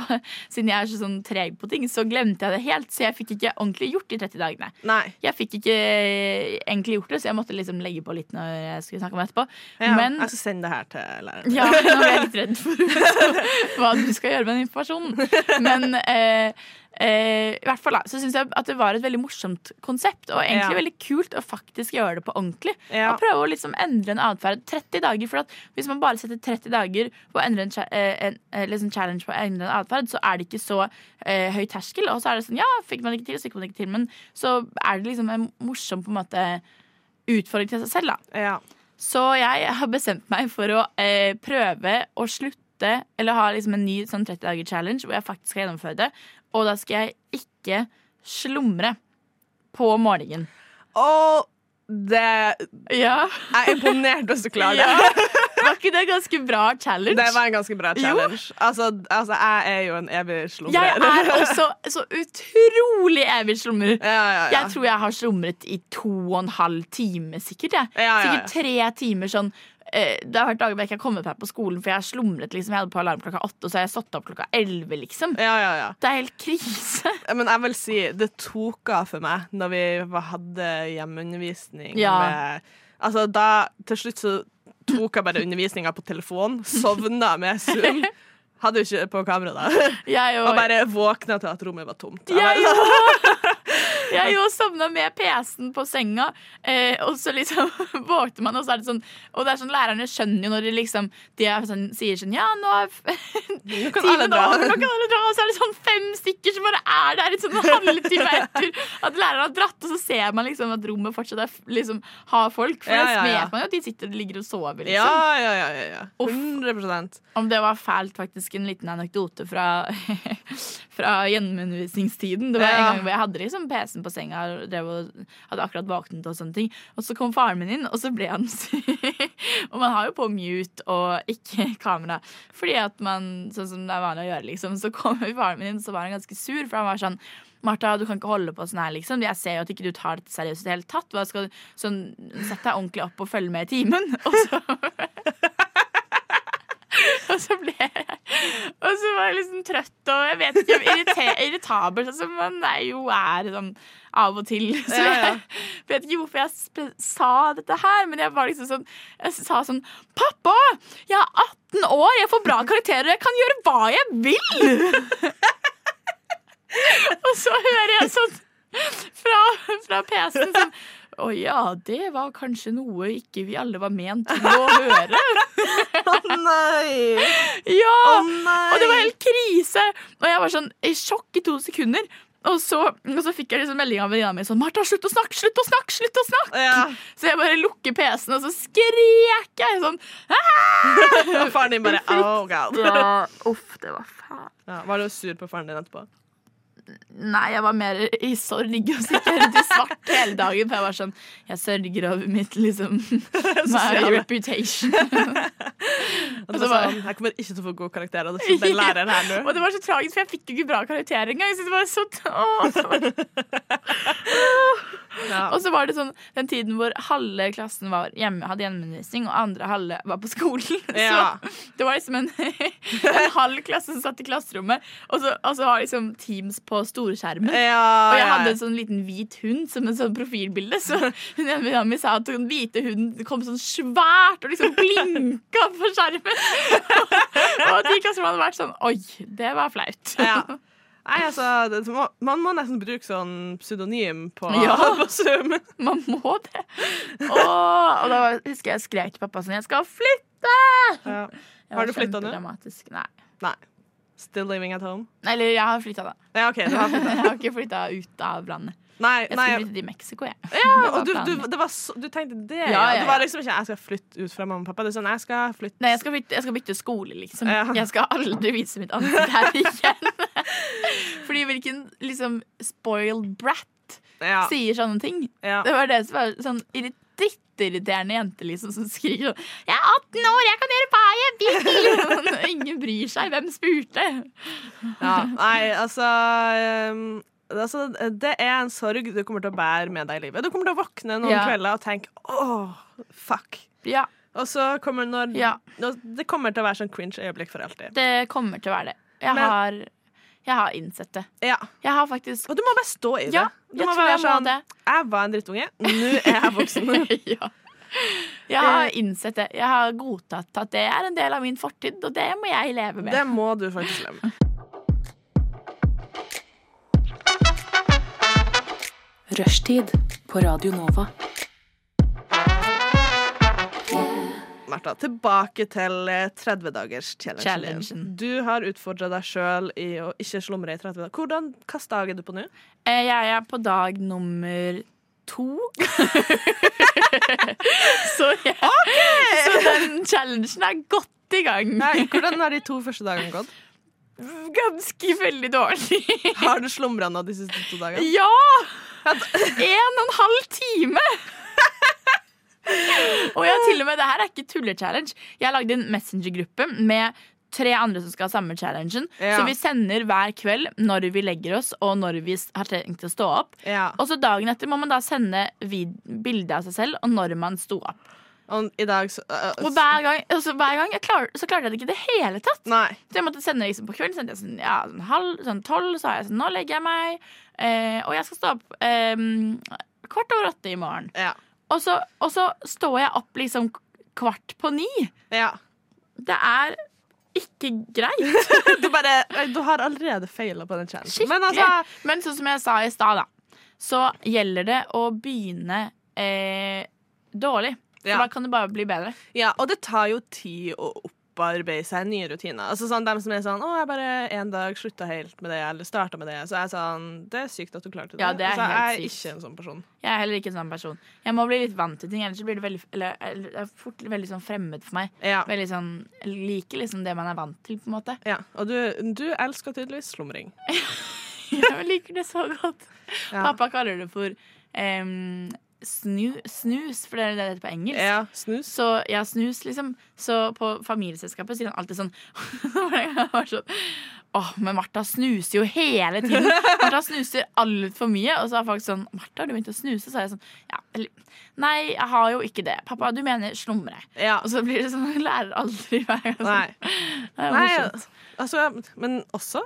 E: siden jeg er så sånn treg på ting, så glemte jeg det helt. Så jeg fikk ikke ordentlig gjort de 30 dagene.
D: Nei.
E: Jeg fikk ikke eh, egentlig gjort det, så jeg måtte liksom legge på litt når jeg skulle snakke om det etterpå.
D: Ja.
E: Men
D: Jeg skal sende det her til læreren.
E: ja, nå ble jeg litt redd for [laughs] hva du skal gjøre med den informasjonen. Men eh, eh, i hvert fall da, så syns jeg at det var et veldig morsomt konsept, og egentlig
D: Ja.
E: veldig kult å faktisk gjøre det på ordentlig.
D: Ja.
E: Og prøve å liksom endre en atferd. 30 dager, for at hvis man bare setter 30 dager på å endre en, cha- eh, en, eh, liksom challenge på å endre en atferd, så er det ikke så eh, høy terskel. Og så er det sånn, ja, fikk man ikke til, så fikk man ikke til. Men så er det liksom en morsom på en måte utfordring til seg selv, da.
D: Ja.
E: Så jeg har bestemt meg for å eh, prøve å slutte Eller ha liksom en ny sånn 30 dager challenge hvor jeg faktisk skal gjennomføre det. Og da skal jeg ikke slumre på morgenen.
D: Og det
E: Ja,
D: Jeg er imponert hvis du klarer det.
E: [laughs] ja. Var ikke det ganske bra challenge?
D: [laughs] Det var en ganske bra challenge. Altså, altså, jeg er jo en evig slumrer.
E: jeg er også så utrolig evig slumrer.
D: [laughs] ja, ja, ja.
E: Jeg tror jeg har slumret i to og en halv time, sikkert. Jeg.
D: Ja, ja, ja.
E: Sikkert tre timer sånn. eh, Det har vært dager hvor jeg ikke har kommet meg på skolen, for jeg har slumret. liksom Jeg hadde på alarm klokka åtte, og så har jeg stått opp klokka elleve, liksom.
D: ja, ja, ja.
E: Det er helt krise. [laughs]
D: Men jeg vil si det tok av for meg når vi var- hadde hjemmeundervisning.
E: Ja.
D: med- altså da, til slutt så tok jeg bare undervisninga på telefon, sovna med
E: [laughs]
D: Zoom. Hadde jo ikke på kamera da. [laughs]
E: Jeg
D: Og
E: og,
D: bare våkna til at rommet var tomt.
E: jeg
D: bare,
E: jo,
D: [laughs]
E: jeg jo sovna med PC-en på senga, eh, og så liksom [laughs] våkner man, og så er det sånn Og det er sånn lærerne skjønner jo når de liksom De er sånn, sier sånn Ja, nå [laughs] er
D: nå kan alle
E: timen
D: dra.
E: over, nå kan alle dra, og så er det sånn fem stykker som bare er der i sånn en
D: [laughs]
E: halvtime etter at læreren har dratt, og så ser man liksom at rommet fortsatt er, f- liksom, har folk. For
D: Ja,
E: da
D: ja, ja.
E: vet man jo at de sitter og ligger og sover, liksom.
D: [laughs] Ja, ja, ja. ja, ja. 100
E: Om det var fælt, faktisk, en liten anekdote fra, [laughs] fra gjennomundervisningstiden. Det var en
D: Ja.
E: gang hvor jeg hadde liksom PC-en på senga og drev og hadde akkurat våknet, og sånne ting. Og så kom faren min inn, og så ble han [laughs] syk. Og man har jo på mute og ikke [laughs] kamera. Fordi at man, sånn som det er vanlig å gjøre, liksom. Så kom faren min inn, så var han ganske sur, for han var sånn Martha, du kan ikke holde på sånn her, liksom. Jeg ser jo at ikke du tar dette seriøst i det hele tatt. Hva skal du sånn, Sett deg ordentlig opp og følg med i timen. [laughs] Og så [laughs] og så ble jeg Og så var jeg liksom trøtt og jeg vet ikke, irrite- irritabel, sånn som man er jo er sånn av og til. [laughs] Så
D: Ja, ja.
E: jeg vet ikke hvorfor jeg sp- sa dette her, men jeg var liksom sånn Jeg sa sånn Pappa! Jeg er 18 år, jeg får bra karakterer, jeg kan gjøre hva jeg vil! [laughs] og så hører jeg sånn fra, fra PC-en sånn Å ja, det var kanskje noe ikke vi alle var ment til å høre.
D: [laughs] Å nei!
E: Ja!
D: Å nei!
E: Og det var helt krise! Og jeg var sånn i sjokk i to sekunder. Og så, og så fikk jeg liksom melding av venninna mi sånn 'Martha, slutt å snakke! Slutt å snakke!' slutt å snakke
D: Ja,
E: Så jeg bare lukker PC-en, og så skrek jeg sånn.
D: og faren din bare oh god.
E: Ja, uff, det var fælt.
D: Ja, var du sur på faren din etterpå?
E: Nei, jeg var mer i sorg og sitte rundt i svart hele dagen. For jeg var sånn Jeg sørger over mitt
D: [laughs]
E: liksom [laughs] my
D: Sosiale.
E: reputation.
D: Og det var
E: var-
D: sånn, Jeg kommer ikke til å få god karakter av det, så den læreren her
E: [laughs]
D: nå.
E: Og det var så tragisk, for jeg fikk jo ikke bra karakter engang. Så det var så åh, det var...
D: Ja.
E: Og så var det sånn den tiden hvor halve klassen var hjemme, hadde hjemmeundervisning, og andre halve var på skolen. [laughs]
D: Ja.
E: Så det var liksom en, [laughs] en halv klasse som satt i klasserommet, og så, og så har liksom Teams på storskjermen.
D: Ja,
E: Og jeg
D: ja,
E: hadde
D: ja.
E: en sånn liten hvit hund som en sånn profilbilde.
D: [laughs]
E: Så hun ene venninna mi sa at den hvite hunden kom sånn svært og liksom blinka på skjermen. [laughs] og de i klasserommet hadde vært sånn Oi, det var flaut.
D: Ja. sånn- [laughs] Nei, altså, det, må- man må nesten bruke sånn pseudonym på,
E: Ja.
D: [laughs] på Zoom.
E: [laughs] Man må det. Åh, og da var- husker jeg jeg skrek til pappa sånn Jeg skal flytte!
D: Ja.
E: Jeg
D: Har
E: var
D: du flyttet nå?
E: kjempedramatisk. Nei.
D: Nei. Still living at home?
E: Eller jeg har flytta, da. [laughs]
D: Ja, OK. Du har flyttet.
E: Jeg har ikke flytta ut av landet.
D: Nei,
E: Jeg
D: nei.
E: skulle flytte til Mexico, jeg.
D: Ja,
E: Det var
D: og du,
E: planen.
D: du, det var så, du tenkte det? Ja,
E: ja,
D: Det
E: ja.
D: var liksom ikke 'jeg skal flytte ut fra mamma og pappa'. Det er sånn, jeg skal flytte
E: Nei, jeg skal, bytte, jeg skal bytte skole, liksom.
D: Ja.
E: Jeg skal aldri vise mitt ansikt her igjen. [laughs] Fordi hvilken liksom spoiled brat
D: ja,
E: sier sånne ting?
D: ja.
E: [laughs] Det var det som var sånn irri- drittirriterende jente liksom som skriker sånn Jeg er 18 år, jeg kan gjøre hva jeg vil! [laughs] Og Ingen bryr seg. Hvem spurte?
D: ja. Nei, altså ehm, Altså, det er en sorg du kommer til å bære med deg i livet. Du kommer til å våkne noen
E: Ja.
D: kvelder og tenke 'åh, fuck'.
E: Ja,
D: Og så kommer når
E: Ja.
D: når- Det kommer til å være sånn cringe øyeblikk for alltid.
E: det kommer til å være det. Jeg
D: Men-
E: har, jeg har innsett det.
D: Ja.
E: Jeg har faktisk
D: Og du må bare stå i det.
E: Ja,
D: du
E: jeg
D: må
E: tror
D: bare
E: jeg
D: være
E: må
D: sånn,
E: det.
D: Jeg var en drittunge, nå er jeg voksen.
E: [laughs] ja. Eh. Jeg har innsett det. Jeg har godtatt at det er en del av min fortid, og det må jeg leve med.
D: Det må du faktisk leve med.
F: Rushtid på Radio Nova.
D: Martha, tilbake til 30-dagers-challengen.
E: Challengen.
D: Du har utfordra deg sjøl i å ikke slumre i 30 dager. Hvordan, Hvilken dag er du på nå?
E: Eh, Jeg er på dag nummer to. [laughs] så, jeg, så den [laughs] challengen er godt i gang.
D: Nei, hvordan har de to første dagene gått?
E: Ganske veldig dårlig.
D: Har du slumra nå de siste to
E: [laughs]
D: dagene?
E: ja! En og en halv time! og jeg har til og med, det her er ikke tulle-challenge. Jeg har lagd en messengergruppe med tre andre som skal ha samme challengen.
D: Ja.
E: Så vi sender hver kveld når vi legger oss, og når vi s- har tenkt å stå opp.
D: Ja.
E: Og så dagen etter må man da sende vid- bilde av seg selv og når man sto opp.
D: Og i dag så øh,
E: Og hver gang, altså hver gang jeg klar, så klarte jeg det ikke i det hele tatt.
D: Nei.
E: Så jeg måtte sende liksom på kvelden, sendte jeg sånn, ja, sånn halv, sånn tolv, så har jeg sånn, nå legger jeg meg, eh, og jeg skal stå opp eh, kvart over åtte i morgen.
D: Ja.
E: Og så, og så står jeg opp liksom kvart på ni.
D: ja.
E: Det er ikke greit.
D: [laughs] Du bare Du har allerede feila på den challengen.
E: Skikkelig.
D: Men altså
E: Men sånn som jeg sa i stad, da, så gjelder det å begynne eh, dårlig. For
D: Ja.
E: da kan det bare bli bedre.
D: Ja, og det tar jo tid å opparbeide seg nye rutiner. Altså sånn, dem som er sånn 'Å, jeg bare en dag slutta helt med det', eller starta med det. Så er jeg sånn Det er sykt at du klarte det.
E: Ja, det er
D: altså, jeg
E: helt
D: er
E: sykt.
D: ikke en sånn person.
E: Jeg er heller ikke en sånn person. Jeg må bli litt vant til ting, ellers så blir det veldig, eller, eller, det er fort veldig sånn fremmed for meg.
D: Ja.
E: Veldig sånn, jeg liker liksom det man er vant til, på
D: [laughs]
E: en måte. [laughs]
D: ja. Og du, du elsker tydeligvis slumring.
E: Jeg liker det så godt.
D: Ja.
E: Pappa kaller det for em, snu, snus, for det er det det heter på engelsk.
D: Ja, snus.
E: Så ja, snus, liksom. Så på familieselskapet sier han alltid sånn [laughs] Jeg var sånn Åh, men Martha snuser jo hele tiden. Martha snuser altfor mye. Og så er folk sånn Martha, har du begynt å snuse? Så er jeg sånn Ja, eller Nei, jeg har jo ikke det. Pappa, du mener slumre.
D: Ja.
E: Og så blir det sånn [laughs] Jeg lærer aldri hver gang. Sånn.
D: Nei.
E: Det er
D: Nei,
E: morsomt.
D: Altså, men også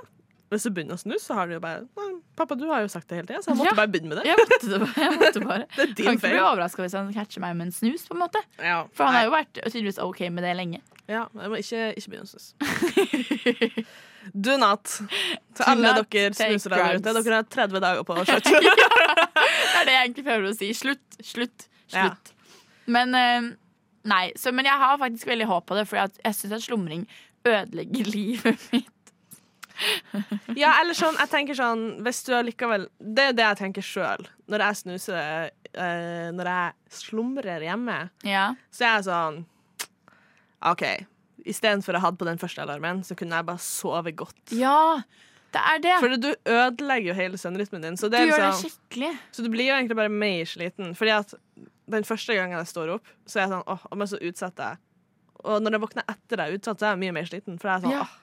D: hvis du begynner å snus, så har du jo bare «Nei, 'Pappa, du har jo sagt det hele tida, så jeg måtte
E: Ja.
D: bare begynne med det'.
E: Jeg måtte det bare. Jeg måtte bare.
D: [laughs] Det er
E: Kan
D: din
E: ikke bli
D: feil.
E: overraska hvis han catcher meg med en snus. på en måte
D: Ja.
E: For han
D: Nei.
E: har jo vært tydeligvis ok med det lenge.
D: Ja, jeg må ikke, ikke begynne å snuse. [laughs] Do not. Til alle
E: not
D: dere
E: take
D: snusere der ute.
E: drugs.
D: Dere har 30 dager på å [laughs] slutte.
E: Det er det jeg egentlig prøver å si. Slutt, slutt,
D: Ja.
E: slutt. Men eh, nei, så, [laughs] men jeg har faktisk veldig håp på det, for jeg syns at slumring ødelegger livet mitt.
D: Ja, eller sånn, jeg tenker sånn Hvis du allikevel Det er det jeg tenker sjøl når jeg snuser eh, Når jeg slumrer hjemme.
E: Ja.
D: Så jeg er sånn OK. Istedenfor å ha på den første alarmen, så kunne jeg bare sove godt.
E: ja, det er det.
D: For du ødelegger jo hele søvnrytmen din. Så,
E: Du
D: det er
E: gjør det
D: liksom,
E: skikkelig.
D: så du blir jo egentlig bare mer sliten. Fordi at den første gangen jeg står opp, så er jeg sånn åh, men så utsetter jeg. Og når jeg våkner etter jeg er utsatt, så er jeg mye mer sliten. For jeg er sånn,
E: Ja.
D: åh,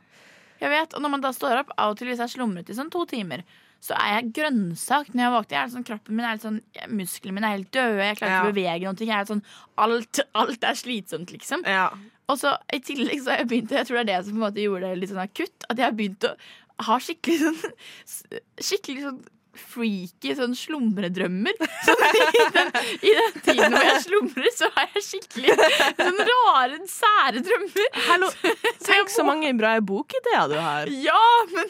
E: Jeg vet, og når man da står opp, av og til hvis jeg slumret i sånn to timer, så er jeg grønnsak når jeg våkner. Jeg er sånn, kroppen min er helt sånn, Musklene mine er helt døde, jeg klarer ikke
D: Ja.
E: å bevege noen ting. Jeg er helt sånn, alt, alt er slitsomt, liksom.
D: ja.
E: Og så i tillegg så har jeg begynt, jeg tror det er det som på en måte gjorde det litt sånn akutt, at jeg har begynt å ha skikkelig sånn Skikkelig sånn freaky sånn slumredrømmer. Sånn i den, i den tiden hvor jeg slumrer, så har jeg skikkelig sånn rare, sære drømmer. [laughs]
D: Hallo,
E: Så jeg
D: tenk så mange bra bokideer du har.
E: Ja, men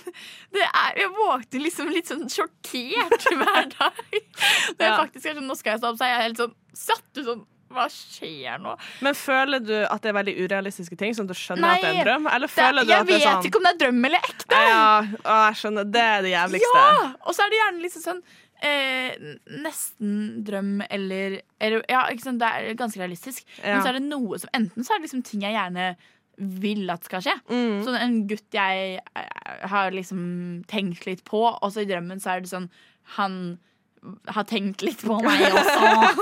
E: det er, jeg våkner liksom litt sånn sjokkert hver dag. Når jeg
D: Ja.
E: faktisk er sånn, nå skal jeg stå opp, så er jeg helt sånn satt ut sånn, hva skjer nå?
D: Men føler du at det er veldig urealistiske ting, sånn at du skjønner
E: Nei,
D: at det er en drøm? Eller
E: Det,
D: føler du
E: jeg
D: at det
E: vet
D: er sånn
E: ikke om det er drøm eller ekte.
D: Ja, å, jeg skjønner. Det er det jævligste.
E: Ja! Og så er det gjerne liksom sånn eh, nesten drøm eller, eller Ja, ikke sant, det er ganske realistisk.
D: Ja.
E: Men så er det noe som Enten så er det liksom ting jeg gjerne vil at skal skje.
D: Mm.
E: Sånn en gutt jeg eh, har liksom tenkt litt på, og så i drømmen så er det sånn Han har tenkt litt på
D: [laughs]
E: meg også.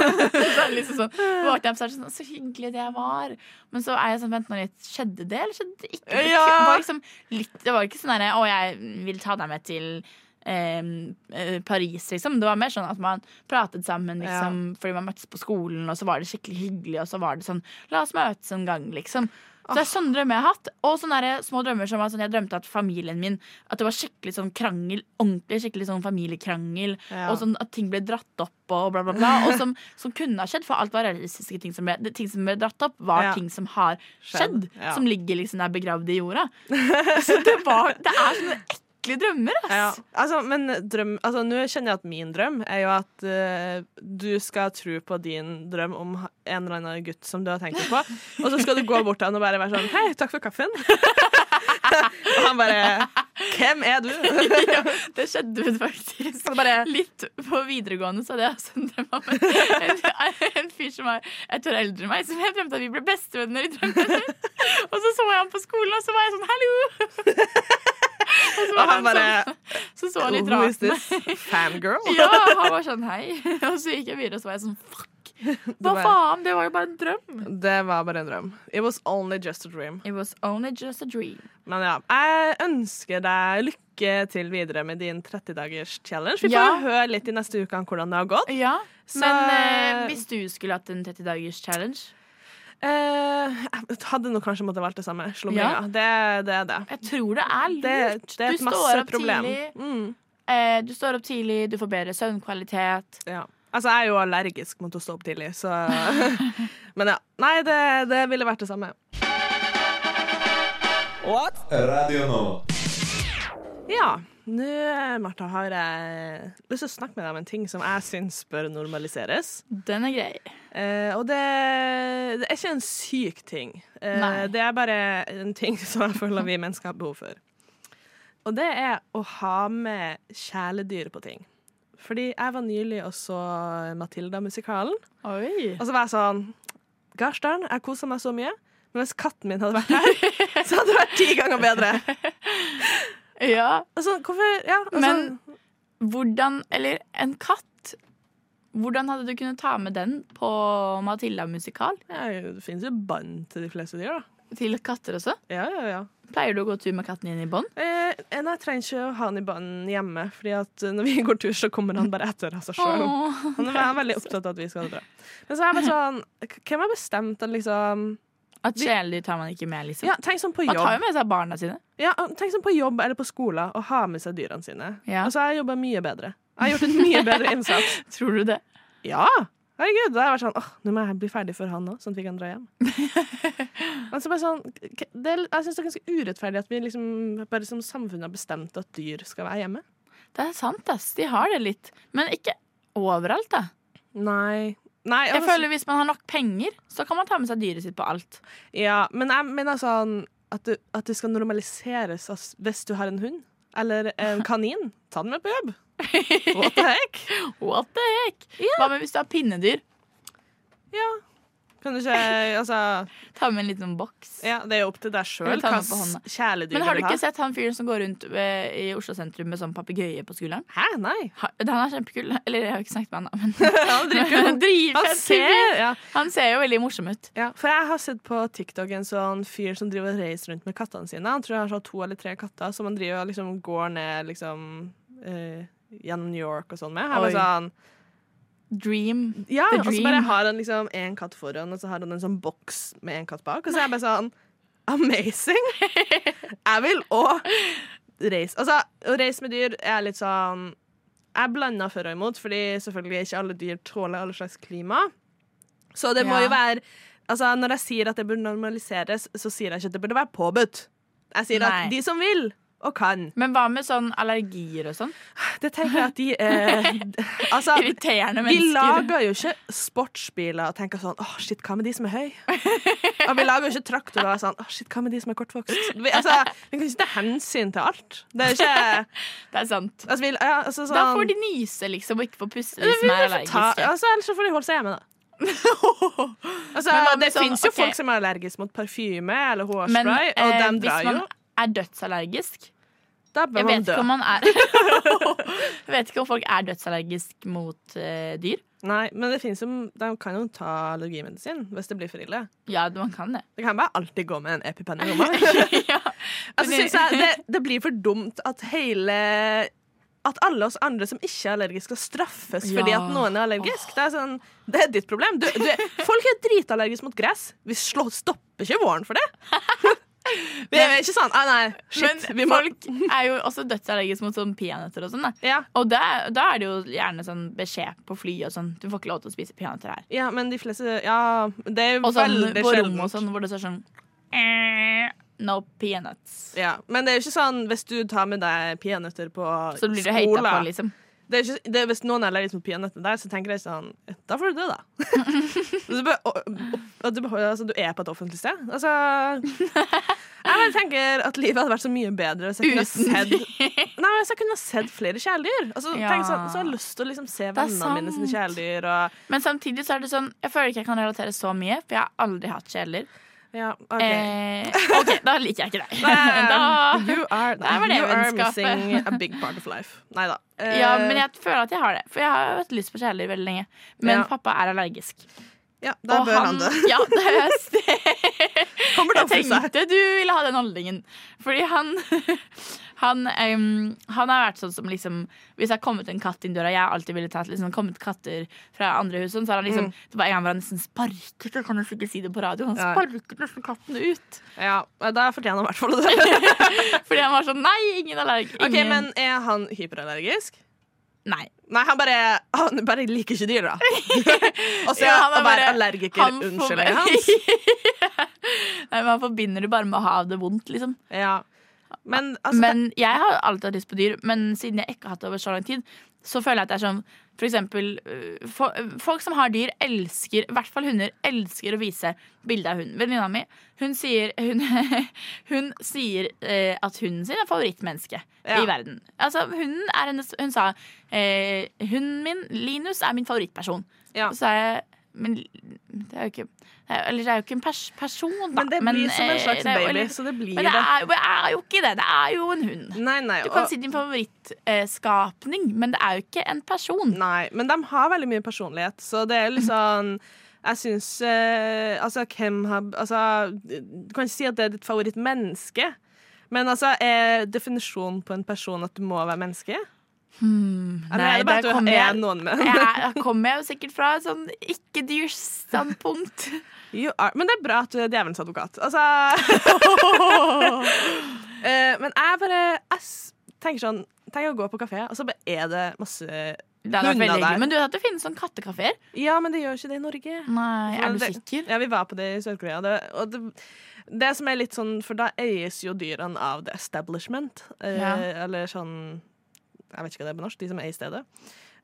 E: [laughs] så er det liksom sånn Våkner jeg opp, så er det sånn Så hyggelig det jeg var. Men så er jeg sånn Vent nå litt. Skjedde det, eller skjedde det ikke? Det,
D: Ja.
E: var liksom litt, det var ikke sånn derre Å, jeg vil ta deg med til em, eh, Paris, liksom. Det var mer sånn at man pratet sammen liksom, fordi man møttes på skolen, og så var det skikkelig hyggelig, og så var det sånn La oss møtes en gang, liksom. Så det er sånne drømmer jeg har hatt. Og sånne der små drømmer som var sånn, jeg drømte at familien min At det var skikkelig sånn krangel. Ordentlig skikkelig sånn familiekrangel.
D: Ja.
E: Og sånn at ting ble dratt opp og bla, bla, bla. Og som, som kunne ha skjedd, for alt var realistiske ting som ble, det, ting som ble dratt opp, var
D: Ja.
E: ting som har skjedd.
D: Skjedd, ja.
E: Som ligger liksom der begravd i jorda. Så det var Det er sånne ekle drømmer, ass.
D: Ja. Altså, men drøm Altså, nå kjenner jeg at min drøm er jo at eh, du skal tro på din drøm om ha- en eller annen gutt som du har tenkt på, og så skal du gå bort til han og bare være sånn Hei, takk for kaffen. og han bare Hvem er du?
E: ja, det skjedde vel faktisk. Litt på videregående så hadde jeg også en drøm om en, en, en fyr som er et år eldre enn meg, som jeg drømte at vi ble bestevenner i drømmen. Og så så jeg ham på skolen, og så var jeg sånn 'hallo'. Og så
D: og
E: var
D: han
E: han
D: bare
E: sånn, så så han litt
D: Who is
E: rart.
D: this? Fangirl?
E: Ja, han var sånn 'hei', og så gikk jeg videre, og så var jeg sånn 'fuck'. Hva
D: bare-
E: faen, det var jo bare en drøm.
D: Det var bare en drøm. It was only just a dream.
E: It was only just a dream.
D: Men ja, jeg ønsker deg lykke til videre med din 30-dagers challenge. Vi får
E: Ja.
D: jo høre litt i neste uke om hvordan det har gått.
E: Ja,
D: Så-
E: Men eh, hvis du skulle hatt en 30 dagers challenge
D: Eh, jeg hadde nå kanskje måttet valgt det samme. Slumringa.
E: Ja.
D: Det, det er det.
E: Jeg tror det er lurt.
D: Det, det er
E: Du
D: et
E: står
D: masse
E: opp
D: problem.
E: tidlig.
D: Mm,
E: Eh, du står opp tidlig, du får bedre søvnkvalitet.
D: ja. Altså, jeg er jo allergisk mot å stå opp tidlig, så
E: [laughs]
D: Men ja. Nei, det, det ville vært det samme.
A: Radio Nova.
D: Ja. Nå, Martha, har jeg lyst til å snakke med deg om en ting som jeg syns bør normaliseres.
E: Den er grei.
D: Eh, og det, det er ikke en syk ting. Eh,
E: Nei.
D: det er bare en ting [laughs] som jeg føler vi mennesker har behov for. Og det er å ha med kjæledyr på ting. Fordi jeg var nylig og så Matilda-musikalen.
E: Oi.
D: Og så var jeg sånn Garsdalen, jeg koser meg så mye. Men hvis katten min hadde vært her,
E: [laughs]
D: så hadde det vært ti ganger bedre.
E: Ja.
D: Altså, hvorfor, ja, altså,
E: Men- Hvordan Eller en katt. Hvordan hadde du kunnet ta med den på Matilda-musikal?
D: ja, Det finnes jo bånd til de fleste dyr, da.
E: Til katter også?
D: Ja, ja, ja.
E: Pleier du å gå tur med katten din i bånd?
D: Eh, nei, jeg trenger ikke å ha han i banen hjemme, Fordi at eh, når vi går tur, så kommer han bare etter av seg sjøl. Han er veldig opptatt av at vi skal ha det bra. Men så er jeg bare sånn k- Hvem har bestemt at liksom
E: At kjæledyr tar man ikke med, liksom.
D: Ja, tenk sånn på
E: Man tar
D: jobb.
E: jo med seg barna sine.
D: Ja, tenk sånn på jobb eller på skolen og ha med seg dyrene sine.
E: Ja.
D: Altså, jeg jobber mye bedre. Jeg har gjort en mye bedre innsats.
E: [laughs] Tror du det?
D: Ja! Herregud, da har jeg vært sånn Åh, nå må jeg bli ferdig for han òg, sånn at vi kan dra hjem. Men så bare sånn k- det, er- Jeg syns det er ganske urettferdig at vi liksom bare som samfunn har bestemt at dyr skal være hjemme.
E: Det er sant, ass. De har det litt. Men ikke overalt, da.
D: Nei. Nei
E: Jeg
D: altså-
E: føler Hvis man har nok penger, så kan man ta med seg dyret sitt på alt.
D: Ja, men jeg mener sånn at det, at det skal normaliseres ass, hvis du har en hund. Eller
E: [laughs]
D: en kanin. Ta den med på jobb. What the heck?
E: What the heck? Hva med hvis du har pinnedyr?
D: Ja. Kan du ikke Altså,
E: Ta med en liten sånn boks.
D: ja, det er jo opp til deg sjøl
E: Eller ta
D: hva
E: den på hånda.
D: slags kjæledyr
E: Men har du
D: vil
E: ikke sett han fyren som går rundt ved, i Oslo sentrum med sånn papegøye på skulderen?
D: Hæ, nei.
E: Ha- Han er kjempekul. Eller jeg har ikke snakket med [laughs] han, da.
D: [laughs] Han,
E: Men
D: han
E: Dritfett fyr.
D: ser ja.
E: Han ser jo veldig morsom ut.
D: Ja, for jeg har sett på TikTok en sånn fyr som driver og reiser rundt med kattene sine. Han tror han har sånn to eller tre katter som han driver og liksom går ned liksom eh, gjennom New York og sånn med. Her
E: Oi.
D: var sånn,
E: Dream.
D: ja,
E: The
D: og så
E: dream.
D: bare har han liksom en katt foran, og så har han en sånn boks med en katt bak. Og så er jeg bare sånn
E: [laughs]
D: Amazing! jeg vil òg reise. Altså, å reise med dyr er litt sånn Jeg blander for og imot, fordi selvfølgelig ikke alle dyr tåler alle slags klima. Så det må
E: Ja.
D: jo være Altså, når jeg sier at det burde normaliseres, så sier jeg ikke at det burde være påbudt. Jeg sier
E: Nei.
D: at de som vil og kan
E: Men hva med sånn allergier og sånn?
D: Det tenker jeg at de eh,
E: [laughs]
D: Altså,
E: Irriterende
D: vi
E: mennesker.
D: lager jo ikke sportsbiler og tenker sånn åh, shit, hva med de som er høy? Og vi lager jo ikke traktorer og er sånn åh, shit, hva med de som er kortvokst? Vi, altså, vi kan ikke ta hensyn til alt. Det er ikke
E: Det er sant.
D: altså, vi, ja, altså, sånn,
E: Da får de nyse, liksom, og ikke får puste, de
D: Vi
E: som er
D: får ta, [laughs]
E: allergiske.
D: altså, Ellers så får de holde seg hjemme, da. Altså,
E: Men hva med
D: det
E: sånn,
D: fins jo
E: ok.
D: folk som er allergiske mot parfyme eller
E: Men
D: hårspray, og
E: eh,
D: dem
E: hvis
D: drar
E: man
D: jo.
E: er dødsallergisk
D: Da
E: Jeg
D: bør man
E: vet
D: dø.
E: ikke om man er
D: [laughs]
E: Jeg vet ikke om folk er dødsallergisk mot eh, dyr.
D: Nei, men det finnes jo, de kan jo ta allergimedisin hvis det blir for ille.
E: Ja, man kan det.
D: Det kan bare alltid gå med en EpiPen i lomma.
E: [laughs] ja.
D: [laughs] Altså,
E: Men-
D: synes jeg det, det blir for dumt at hele At alle oss andre som ikke er allergiske, skal straffes
E: Ja.
D: fordi at noen er allergisk. Det er, sånn, det er ditt problem. Du, du, folk er dritallergiske mot gress. Vi slår, stopper ikke våren for det.
E: [laughs]
D: Vi er ikke sånn ah, Nei, shit.
E: Men
D: vi må,
E: folk er jo også dødsallergisk mot sånn peanøtter og sånn. da
D: ja,
E: Og da, da er det jo gjerne sånn beskjed på fly og sånn. Du får ikke lov til å spise peanøtter her.
D: ja, men de fleste Ja, det er
E: Og sånn
D: veldig
E: på rom og
D: sjeldent.
E: sånn hvor det står sånn eh, No peanuts.
D: Ja, men det er jo ikke sånn hvis du tar med deg peanøtter på
E: Så blir du høyta på,
D: skolen
E: liksom.
D: det er ikke, det, Hvis noen er allergisk mot peanøtter der, så tenker jeg sånn Da får du
E: [laughs]
D: dø, da. du, bare, og, og, og du, bare- altså, du er på et offentlig sted. Altså Jeg bare tenker at livet hadde vært så mye bedre hvis jeg kunne
E: Uten
D: sett Nei, hvis jeg kunne sett flere kjæledyr. Altså,
E: Ja.
D: tenk sånn, så har jeg lyst til å liksom se
E: er
D: vennene mine sine
E: sant.
D: kjæledyr og
E: Men samtidig så er det sånn Jeg føler ikke jeg kan relatere så mye, for jeg har aldri hatt kjeler.
D: Ja, OK.
E: Eh, OK, da liker jeg
D: [laughs]
E: ikke deg.
D: Damn,
E: [laughs] da,
D: um, you are,
E: Der var det
D: you are
E: vennskapet.
D: missing a big part of life. Nei da. Eh,
E: ja, men jeg føler at jeg har det, for jeg har jo hatt lyst på kjæledyr veldig lenge. Men
D: Ja.
E: pappa er allergisk.
D: Eh, ja, da
E: Og
D: bør han dø.
E: Ja, det er
D: [laughs]
E: det
D: Kommer det
E: jeg
D: opp for seg?
E: tenkte du ville ha den holdningen. Fordi han [laughs] han, em, han har vært sånn som liksom Hvis det har kommet en katt inn døra Jeg har alltid ville tatt liksom, kommet katter fra andre hus, sånn, så har han
D: Mm.
E: liksom Det var en gang hvor han nesten sparket Jeg kan nesten ikke si det på radio. Han
D: Ja.
E: sparket nesten katten ut. [laughs]
D: Ja, da fortjener han i hvert fall å dø.
E: Fordi han var sånn Nei, ingen allergi.
D: Ok,
E: ingen-
D: men Er han hyperallergisk?
E: Nei.
D: Nei, han bare, han bare liker ikke dyr, da.
E: [laughs]
D: Og så
E: Ja, han er
D: å være
E: bare-
D: allergiker.
E: han får-
D: Unnskyldningen hans.
E: [laughs] Nei, men Han forbinder det bare med å ha det vondt, liksom.
D: Ja. Men altså det-
E: men jeg har alltid hatt lyst på dyr, men siden jeg ikke har hatt det over så lang tid, så føler jeg at det er sånn For eksempel øh, fo- øh, Folk som har dyr, elsker I hvert fall hunder elsker å vise bilde av hunden. Venninna mi hun sier, hun, [laughs] hun sier eh, at hunden sin er favorittmenneske
D: Ja.
E: i verden. Altså, hunden er hennes Hun sa eh, Hunden min, Linus, er min favorittperson.
D: Ja.
E: Og så er jeg men det er jo ikke Eller det er jo ikke en pers person, da.
D: men det blir som en
E: eh,
D: slags
E: det er jo-
D: baby,
E: eller-
D: så det blir
E: men
D: det.
E: det er, jo- det er jo ikke det. Det er jo en hund.
D: Nei, nei.
E: Du kan
D: og-
E: si din favorittskapning, eh, men det er jo ikke en person.
D: nei. Men de har veldig mye personlighet, så det er litt sånn jeg syns eh, Altså, hvem har Altså, du kan ikke si at det er ditt favorittmenneske, men altså, er definisjonen på en person at du må være menneske? Eller er det bare at du
E: Hmm,
D: er
E: kommer jeg,
D: noen med?
E: jeg, da kommer jeg jo sikkert fra et sånn ikke-dyrs-standpunkt.
D: You are. ah, Men det er bra at du er djevelens advokat. Altså [laughs] Eh, Men jeg bare jeg s- tenker sånn Tenk å gå på kafé, og så bare er det masse
E: Det hadde vært
D: Hunder
E: veldig
D: der.
E: hyggelig. Men du vet at det finnes sånn kattekafeer?
D: Ja, men det gjør ikke det i Norge.
E: Nei, er
D: Men
E: du
D: det-
E: sikker?
D: Ja, vi var på det i Sør-Korea. Det, og det, det som er litt sånn For da eies jo dyrene av the establishment. eh,
E: Ja.
D: Eller sånn Jeg vet ikke hva det er på norsk. De som er i stedet.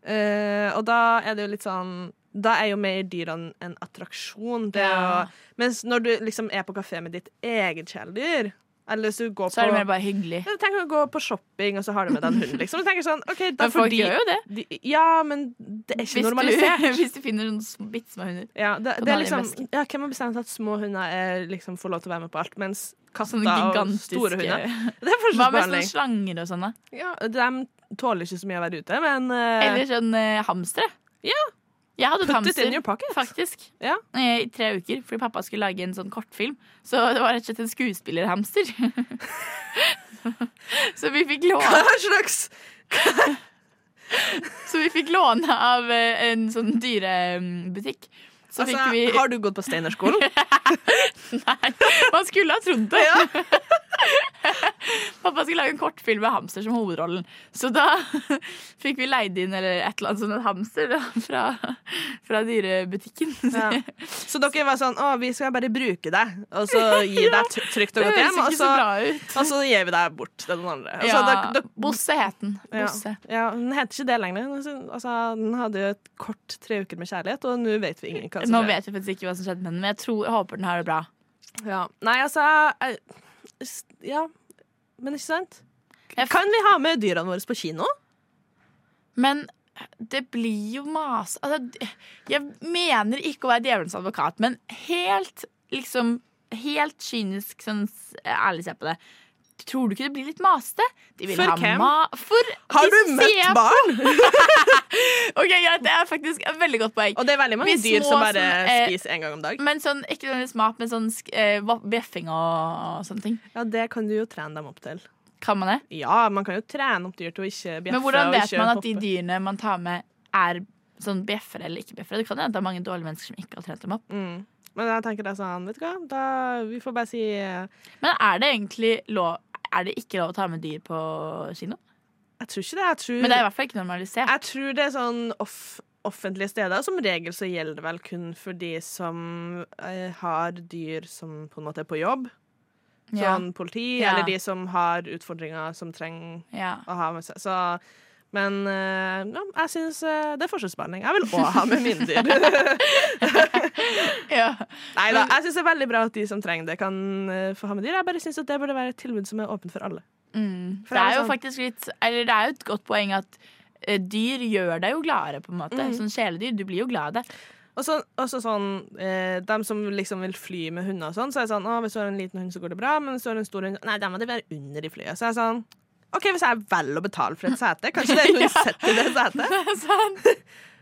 D: Eh, og da er det jo litt sånn Da er jo mer dyrene en attraksjon. Det er jo,
E: Ja.
D: mens når du liksom er på kafé med ditt eget kjæledyr Eller hvis du går
E: Så er det mer
D: på
E: bare hyggelig.
D: Tenk å gå på shopping, og så har du med deg en hund, liksom. Du tenker sånn, ok, da
E: Men folk
D: fordi-
E: gjør jo det.
D: de, Ja, men det er ikke
E: Hvis
D: normalisert.
E: du, [laughs] hvis du finner noen sm- bitte små hunder.
D: Ja, det,
E: Kan
D: det
E: ha
D: er
E: det i
D: liksom
E: vesken.
D: ja, Hvem har bestemt at små hunder er, liksom, får lov til å være med på alt, mens katter
E: Sånne
D: og store hunder
E: gigantiske
D: Det er
E: Hva med sånne
D: forskjellsbehandling.
E: slanger og sånn, da?
D: Ja, de tåler ikke så mye å være ute, men eh,
E: Eller sånn eh, hamstere.
D: Ja.
E: Jeg hadde et
D: Put it in
E: hamster,
D: your pocket.
E: faktisk.
D: Ja. [laughs]
E: Eh, I tre uker, fordi pappa skulle lage en sånn kortfilm. Så det var rett og slett en skuespillerhamster. [laughs] så, vi fikk låne,
D: Hva slags
E: så vi fikk låne av eh, en sånn dyrebutikk. Så
D: altså,
E: fikk
D: [laughs]
E: vi
D: Har du gått på
E: [laughs]
D: Steinerskolen?
E: Nei, man skulle ha trodd det.
D: Ja.
E: Pappa skulle lage en kortfilm med hamster som hovedrollen. Så da [laughs] fikk vi leid inn eller et eller annet sånt et hamster da, fra, fra dyrebutikken. [laughs]
D: Ja. Så dere var sånn Å, vi skal bare bruke deg, og så
E: [laughs]
D: gi deg et trygt og
E: Det
D: godt
E: høres
D: hjem, og
E: ikke så
D: så,
E: bra ut.
D: og så gir vi deg bort til noen andre. Altså,
E: Ja,
D: dere- dere-
E: Bosse het den.
D: Ja.
E: Bosse.
D: ja, Den heter ikke det lenger. Altså, den hadde jo et kort tre uker med kjærlighet, og nå vet vi ingen hva som
E: Nå
D: skjer.
E: vet vi faktisk ikke hva som skjedde med den, men jeg, tror, jeg håper den har det bra.
D: Ja. Nei, altså eh, s- Ja, men ikke sant?
E: Jeg f-
D: Kan vi ha med dyra våre på kino?
E: Men det blir jo mas... Altså, jeg mener ikke å være djevelens advokat, men helt liksom Helt kynisk, sånn s- ærlig se på det. Tror du ikke det blir litt masete? De vil
D: For
E: ha
D: hvem?
E: Ma for
D: Har
E: de
D: du
E: ser-
D: møtt barn?
E: Ok, ja, Det er faktisk et veldig godt poeng.
D: Og det er veldig mange
E: Vi
D: dyr
E: små
D: som bare
E: som, eh,
D: spiser en gang om dag.
E: Men sånn, ikke nødvendigvis mat, men sånn sk- eh, va- bjeffing og, og sånne ting.
D: Ja, det kan du jo trene dem opp til.
E: Kan man det?
D: Ja, man kan jo trene opp dyr til å ikke bjeffe.
E: Men hvordan
D: og
E: vet
D: ikke
E: man at de
D: hoppe.
E: dyrene man tar med, er sånn bjeffer eller ikke bjeffer? Det kan jo hende det er mange dårlige mennesker som ikke har trent dem opp.
D: mm. Men jeg tenker det er sånn, vet du hva, da, vi får bare si eh,
E: Men er det egentlig lov Er det ikke lov å ta med dyr på kino?
D: Jeg tror ikke det. Jeg tror
E: Men det er i hvert fall ikke normalisert.
D: Jeg tror det er sånn off offentlige steder. Som regel så gjelder det vel kun for de som eh, har dyr som på en måte er på jobb.
E: Ja.
D: Sånn politi,
E: Ja.
D: eller de som har utfordringer som trenger
E: Ja.
D: å ha med seg. Så, men eh, ja, jeg syns eh, det er forskjellsbehandling. Jeg vil òg ha med mine
E: [laughs]
D: dyr.
E: ja.
D: Nei da, jeg syns det er veldig bra at de som trenger det, kan eh, få ha med dyr. Jeg bare syns at det burde være et tilbud som er åpent for alle.
E: Mm.
D: For
E: Det er jo
D: sånn-
E: faktisk litt Eller det er jo et godt poeng at eh, dyr gjør deg jo gladere, på en måte.
D: Mm.
E: Sånn kjæledyr. Du blir jo glad av det.
D: Og så, også sånn, eh, dem som liksom vil fly med hunder og sånn, så er det sånn å, hvis du har en liten hund, så går det bra, men hvis du har en stor hund Nei, da må det være under i flyet. Så er det sånn OK, hvis jeg velger å betale for et sete, kanskje
E: [laughs]
D: det er hun setter i det setet?
E: sånn.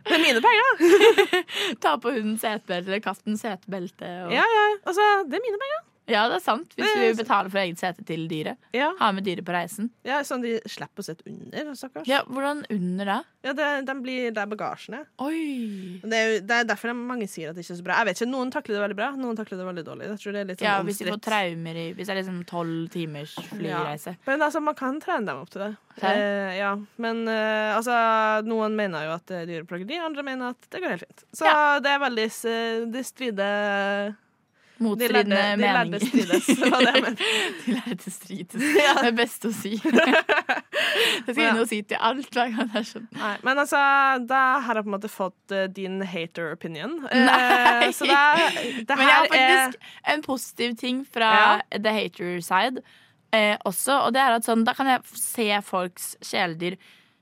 D: Med mine penger!
E: [laughs] Ta på hundens setebelte eller kattens setebelte. Og...
D: Ja, ja. Altså, det er mine penger.
E: ja, det er sant. Hvis
D: Det er
E: du betaler for eget sete til dyret.
D: Ja,
E: Ha med dyret på reisen.
D: ja Sånn de slipper å sitte under, stakkars. Ja,
E: Ja, Hvordan under da?
D: det- de blir der bagasjen er.
E: Oi!
D: Det er, jo- det er derfor det er mange sier at det ikke er så bra. Jeg vet ikke, Noen takler det veldig bra, noen takler det veldig dårlig. Jeg tror det er litt sånn
E: Ja, hvis de får
D: omstridt.
E: traumer i Hvis det er liksom tolv timers flyreise.
D: Men altså, man kan trene dem opp til det.
E: Hæ?
D: Eh, ja. Men eh, altså, noen mener jo at det er dyreplageri, andre mener at det går helt fint. Så det er veldig s- De strider De lærde,
E: Motstridende
D: de lærde
E: meninger.
D: strides, det var det
E: [laughs]
D: jeg mente.
E: De
D: [laughs]
E: lærde strides. Det er best å si. Jeg skal inn og si til alt hver gang det er sånn.
D: Nei, men altså, da har jeg på en måte fått eh, din hater opinion. Eh, så det, er- det
E: [laughs] Men jeg
D: her
E: har faktisk en positiv ting fra the hater side eh, også, og det er at sånn, da kan jeg f- se folks kjæledyr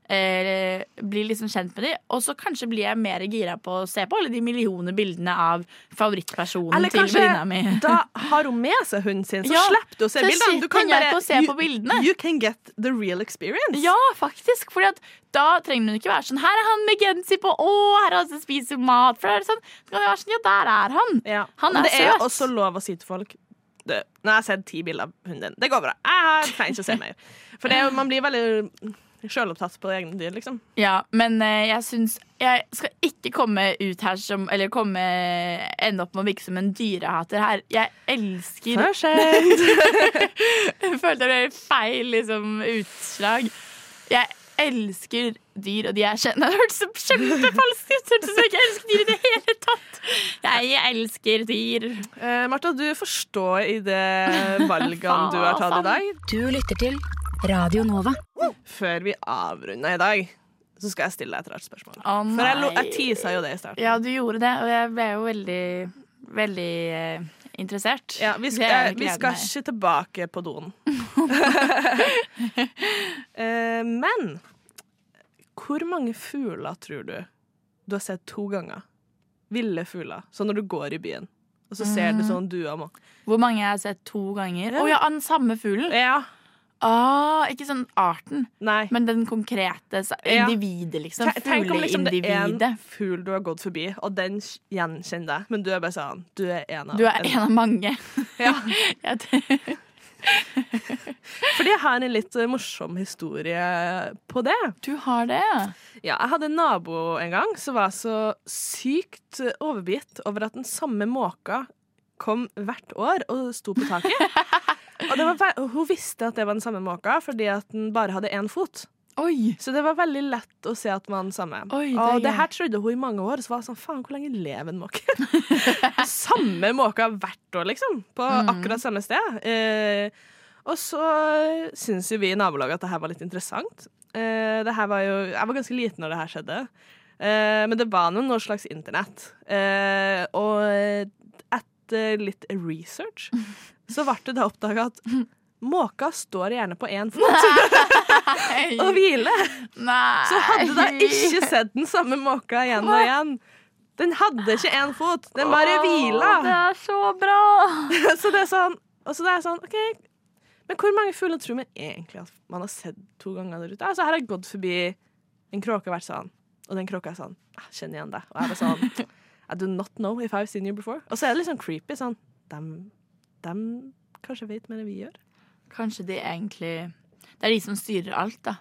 E: eh, bli liksom kjent med dem, og så kanskje blir jeg mer gira på å se på alle de millioner bildene av favorittpersonen
D: Eller
E: til
D: kanskje
E: venninna mi.
D: er Da har hun med seg hunden sin, så
E: Ja,
D: slipper du å se
E: så
D: bildene. Du
E: slipper jeg ikke å se på bildene.
D: You, you can get the real experience.
E: Ja, faktisk. Fordi at da trenger hun ikke være sånn 'Her er han med genser på. Å, her er han som spiser mat.' For da er det sånn, da kan det være sånn 'Ja, der er han'.
D: Ja.
E: Han
D: Men
E: er
D: det er
E: søt.
D: jo også lov å si til folk du, Nå har jeg sett ti bilder av hunden din. Det går bra. Jeg trenger ikke å se mer. For det, er jo- man blir veldig sjølopptatt på egne dyr, liksom.
E: Ja, men eh, jeg syns Jeg skal ikke komme ut her som Eller komme ende opp med å virke som en dyrehater her. Jeg elsker Jeg [laughs] følte det ble feil liksom, utslag. Jeg elsker dyr, og de jeg kjenner [laughs] Det hørtes så kjempefalskt ut! Hørtes ut som jeg ikke elsker dyr i det hele tatt! Jeg elsker dyr.
D: [laughs] Eh, Martha, du forstår i det valgene du har tatt i dag.
B: Du lytter til Radio Nova.
D: Før vi avrunder i dag, så skal jeg stille deg et rart spørsmål.
E: Å,
D: For jeg, lo-
E: nei.
D: jeg teasa jo det i starten.
E: Ja, du gjorde det, og jeg ble jo veldig, veldig eh, interessert.
D: Ja, vi, sk
E: Det er
D: eh,
E: jo
D: vi
E: gleden
D: skal
E: her.
D: ikke tilbake på
E: [laughs]
D: doen. [laughs] Eh, men hvor mange fugler tror du du har sett to ganger? Ville fugler. Sånn når du går i byen, og så ser
E: Mm.
D: du sånn dua må
E: Hvor mange jeg har sett to ganger? Å ja, av den samme fuglen.
D: Ja.
E: Ah, ikke sånn arten,
D: Nei.
E: men den konkrete sa-
D: Ja.
E: individet, liksom.
D: Te- Tenk om liksom det er en
E: Fugleindividet.
D: fugl du har gått forbi, og den kj- gjenkjenner deg, men du er bare sånn Du er en av
E: Du er en av mange. [laughs] Ja, det-
D: Fordi jeg har en litt eh, morsom historie på det.
E: du har det, ja.
D: Ja, jeg hadde en nabo en gang som var så sykt overbitt over at den samme måka kom hvert år og sto på taket. Og det var, ve- hun visste at det var den samme måka fordi at den bare hadde én fot.
E: Oi.
D: [laughs] Så det var veldig lett å se at den var den samme.
E: Oi, det er
D: og det
E: gøy.
D: her trodde hun i mange år. Så var jeg sånn, faen, hvor lenge lever en måke? [laughs] samme måka hvert år, liksom. På
E: Mm.
D: akkurat samme sted. Eh, og så syns jo vi i nabolaget at det her var litt interessant. Eh, det her var jo, jeg var ganske liten når det her skjedde. Eh, men det var nå noe slags internett. Eh, og etter litt research så ble det da oppdaga
E: [laughs]
D: at måka står gjerne på én fot [laughs] og hviler.
E: Nei.
D: Så hadde da ikke sett den samme måka igjen og igjen. Den hadde ikke én fot, den bare
E: Det
D: hvila.
E: er så bra.
D: [laughs] Så det er sånn, og så det er sånn OK, men hvor mange fugler tror man egentlig at man har sett to ganger der ute? Altså, her har jeg gått forbi en kråke og vært sånn, og den kråka er sånn ah, Kjenn igjen deg. Og jeg var
E: [laughs]
D: sånn I do not know if I've seen you before. Og så er det litt sånn creepy sånn Dem, dem kanskje vet mer enn vi gjør.
E: Kanskje de egentlig Det er de som styrer alt, da.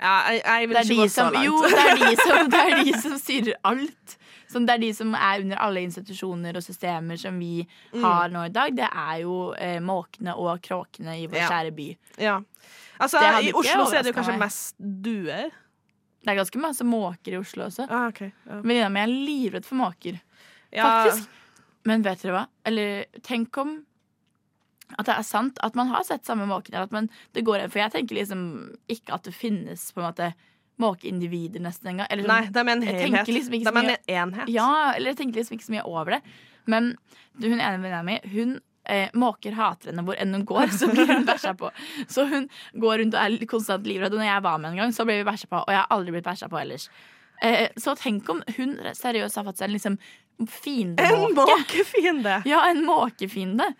D: Ja, jeg, jeg vil
E: Det er
D: ikke gå
E: de
D: så
E: som,
D: langt.
E: jo, det er de som, det er de som styrer alt. Sånn, det er de som er under alle institusjoner og systemer som vi
D: Mm.
E: har nå i dag. Det er jo eh, måkene og kråkene i vår
D: Ja.
E: kjære by.
D: [laughs] Ja. Altså,
E: Det hadde
D: I
E: ikke
D: Oslo så er det jo
E: overrasket
D: kanskje
E: meg.
D: mest duer.
E: Det er ganske masse måker i Oslo også.
D: Ah, ok. ja.
E: Venninna mi er livredd for måker.
D: Ja.
E: Faktisk. Men vet dere hva? Eller tenk om at det er sant at man har sett samme måken. Eller at man, det går, for jeg tenker liksom ikke at det finnes på en måte måkeindivider nesten engang. eller sånn-
D: Nei, de er en
E: Jeg
D: helhet.
E: tenker liksom ikke
D: de
E: så
D: er
E: mye-
D: en enhet.
E: Ja, eller jeg tenkte liksom ikke så mye over det. Men du, hun ene venninna mi, hun eh, måker hater henne hvor enn hun går, så blir hun bæsja på. Så hun går rundt og er konstant livredd. Og når jeg var med en gang, så ble vi bæsja på, og jeg har aldri blitt bæsja på ellers. Eh, så tenk om hun seriøst har fått seg en liksom
D: En
E: fiendemåke.
D: måkefiende!
E: Ja, en måkefiende.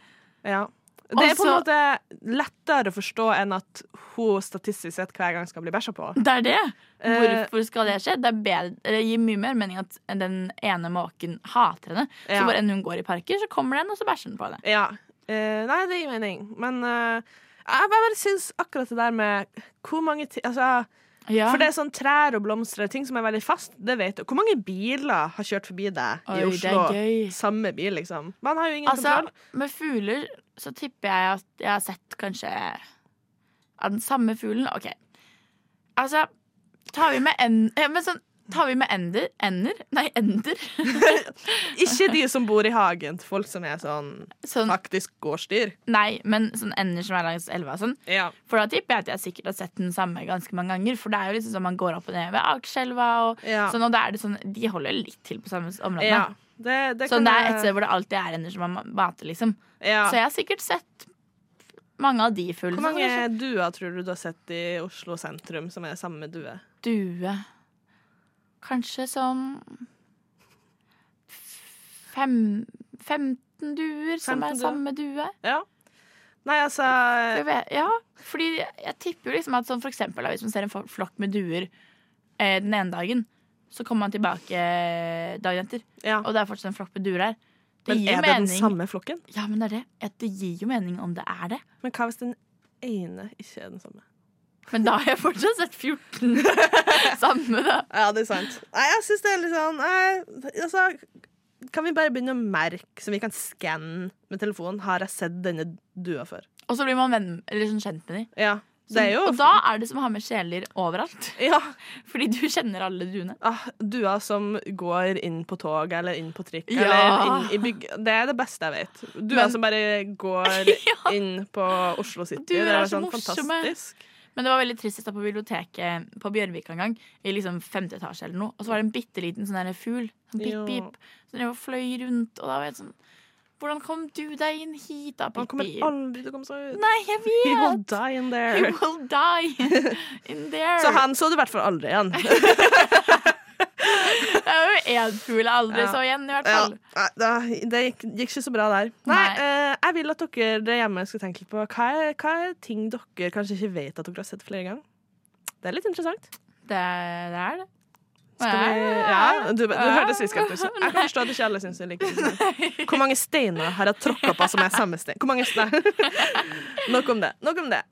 D: Ja. Det er på en
E: Også-
D: måte lettere å forstå enn at hun statistisk sett hver gang skal bli bæsja på.
E: Det er det.
D: Eh,
E: Hvorfor skal det skje? Det, er bedre, det gir mye mer mening at den ene måken hater henne.
D: Ja.
E: Så hvor enn hun går i parker, så kommer den, og så bæsjer den på henne.
D: Ja. Eh, nei, det gir mening. Men eh, jeg bare bare syns akkurat det der med hvor mange ti altså,
E: Ja.
D: For det er sånn trær og blomster ting som er veldig fast. Det vet du. Hvor mange biler har kjørt forbi deg i
E: Oi, det er
D: Oslo?
E: gøy.
D: Samme bil, liksom. Man har jo ingen
E: Altså,
D: kontroll.
E: med fugler så tipper jeg at jeg har sett kanskje av den samme fuglen. OK. Altså, tar vi med en, ja, men sånn, tar vi med ender Ender? Nei, ender. [laughs]
D: Ikke de som bor i hagen til folk som er sånn
E: Sånn,
D: faktisk gårdsdyr.
E: nei, men sånn ender som er langs elva og sånn.
D: Ja.
E: For da tipper jeg at jeg sikkert har sett den samme ganske mange ganger. For det er jo liksom sånn man går opp og ned ved Akerselva, og
D: Ja.
E: sånn, og da er det sånn De holder litt til på samme område.
D: ja.
E: da.
D: Det, det kan
E: Sånn, det er
D: jeg-
E: et sted hvor det alltid er ender som man mater, liksom.
D: ja.
E: Så jeg har sikkert sett mange av de fuglene.
D: Hvor
E: Sånn,
D: mange
E: kanskje-
D: duer tror du du har sett i Oslo sentrum som er samme due?
E: due. Kanskje sånn fem, 15 duer som
D: 15
E: er
D: duer.
E: samme due.
D: Ja. Nei, altså
E: Jeg vet, ja, fordi jeg tipper jo liksom at sånn for eksempel da, hvis man ser en fo- flokk med duer eh, den ene dagen, så kommer man tilbake eh, dagen etter,
D: ja.
E: og det er fortsatt en flokk med duer der. Det
D: Men
E: gir
D: er
E: jo
D: det den
E: mening.
D: samme flokken?
E: Ja, men det er det. At det gir jo mening om det er det.
D: Men hva hvis den ene ikke er den samme?
E: Men da har jeg fortsatt sett 14 [laughs] samme, da.
D: Ja, det er sant. Nei, jeg syns det er litt sånn nei, Altså, kan vi bare begynne å merke, så vi kan skanne med telefonen, har jeg sett denne dua før?
E: Og så blir man venn, eller sånn kjent med dem.
D: Ja. Det er jo
E: Og da er det som å ha med kjæledyr overalt.
D: [laughs] ja,
E: Fordi du kjenner alle duene.
D: ah, duer som går inn på tog eller inn på trikk
E: Ja.
D: eller inn i bygg... Det er det beste jeg vet. Duer
E: Men-
D: som bare
E: [laughs]
D: går inn på Oslo City.
E: Duer
D: det
E: er
D: var
E: så eh.
D: sånn
E: morsomme.
D: fantastisk.
E: Men det var veldig trist. Jeg satt på biblioteket på Bjørvika en gang, i liksom femte etasje eller noe, og så var det en bitte liten sånn der fugl, sånn
D: Ja.
E: pip-pip, som drev og fløy rundt, og da var jeg sånn Hvordan kom du deg inn hit, da,
D: Man kommer
E: Pippi?
D: aldri til å komme seg ut.
E: Nei, jeg
D: [laughs] He will
E: vet!
D: die in
E: He
D: there.
E: will
D: [laughs]
E: die in there.
D: Så han så du i hvert fall aldri igjen.
E: [laughs] Det er jo én fugl jeg aldri
D: Ja.
E: så igjen, i hvert
D: Ja,
E: fall.
D: nei, da, det gikk, gikk ikke så bra der. Nei,
E: Nei.
D: eh, Jeg vil at dere der hjemme skal tenke litt på hva er, hva er ting dere kanskje ikke vet at dere har sett flere ganger. Det er litt interessant.
E: Det, det er det.
D: Skal vi, ja, du du hørte sist gang du sa Jeg kan forstå at ikke alle syns det er like interessant. Hvor mange steiner har jeg tråkka på som er samme stein? Hvor mange
E: [laughs]
D: stein? Nok om det. Nok om det.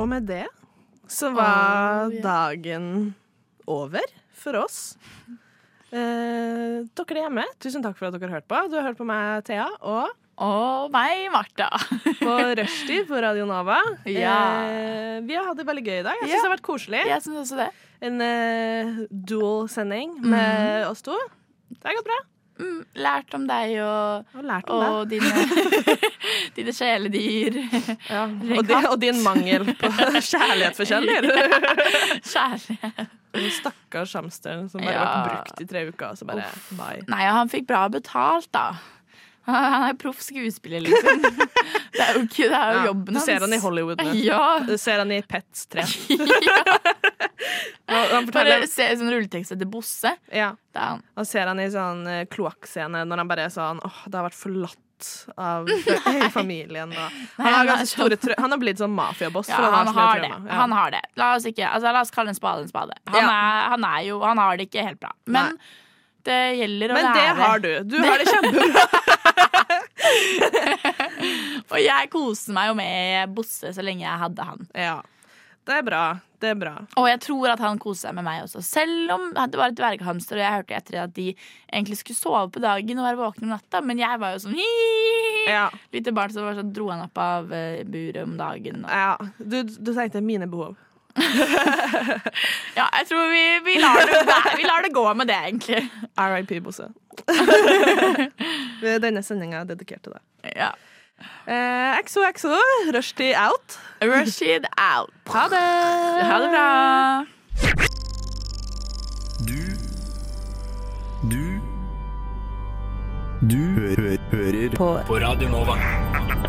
D: Og med det så var
E: Oh, ja.
D: dagen over for oss. Eh, dere hjemme, tusen takk for at dere har hørt på. Du har hørt på meg, Thea, og
E: Og meg, Martha. [laughs]
D: på Rushtid på Radio Nova.
E: Ja.
D: Eh, vi har hatt det veldig gøy i dag. Jeg syns
E: Ja.
D: det har vært koselig.
E: Jeg syns også det.
D: En eh, dual-sending
E: Mhm.
D: med oss to. Det har gått bra.
E: Mm, lært om deg og,
D: Og lært om
E: og dine, [laughs] dine sjeledyr. [laughs]
D: det. Ja. Og, din, og din mangel på kjærlighet for kjæledyr.
E: Kjære.
D: Stakkars hamsteren som bare
E: Ja.
D: ble brukt i tre uker, og så bare bye.
E: Nei, han fikk bra betalt, da. Han er proff skuespiller, liksom. [laughs] Det er jo ikke det er jo
D: Ja,
E: jobben
D: du
E: hans.
D: ser han i Hollywood nå.
E: [laughs] Ja.
D: Du ser han i Pets
E: [laughs]
D: 3. han, han,
E: Bare
D: forteller,
E: se sånn rulletekst etter Bosse.
D: ja,
E: Det er han.
D: han ser han i sånn eh, kloakkscene når han bare er sånn åh, det har vært forlatt
E: [laughs]
D: av hele familien. Og. Han,
E: Nei,
D: har
E: han er
D: ganske
E: så-
D: store trau- han har blitt sånn mafiaboss.
E: Ja,
D: for
E: han
D: så mye
E: har det.
D: traumer. Ja.
E: Han har det. La oss, ikke, altså, la oss kalle en spade en spade. Han, er, han er jo Han har det ikke helt bra. Men det gjelder å
D: Men det
E: lære.
D: har du. Du har det
E: [laughs]
D: kjempebra.
E: Og jeg koser meg jo med Bosse så lenge jeg hadde han.
D: ja. Det er bra. Det er bra.
E: Og jeg tror at han koser seg med meg også. Selv om det var et dverghamster, og jeg hørte etter det at de egentlig skulle sove på dagen og være våkne om natta, men jeg var jo sånn hi
D: Ja.
E: Lite barn som var sånn, dro han opp av eh, buret om dagen. Og.
D: ja. Du, du tenkte mine behov.
E: Ja, jeg tror vi, vi, lar det, være- vi lar det gå med det, egentlig.
D: RIP,
E: [laughs]
D: Bosse. Denne sendinga er dedikert til deg.
E: Ja.
D: Eh, XOXO, rushtid out.
E: Rashid out.
D: Ha det!
E: Ha det bra.
G: Du Du Du hø hø hører på. på Radio Nova.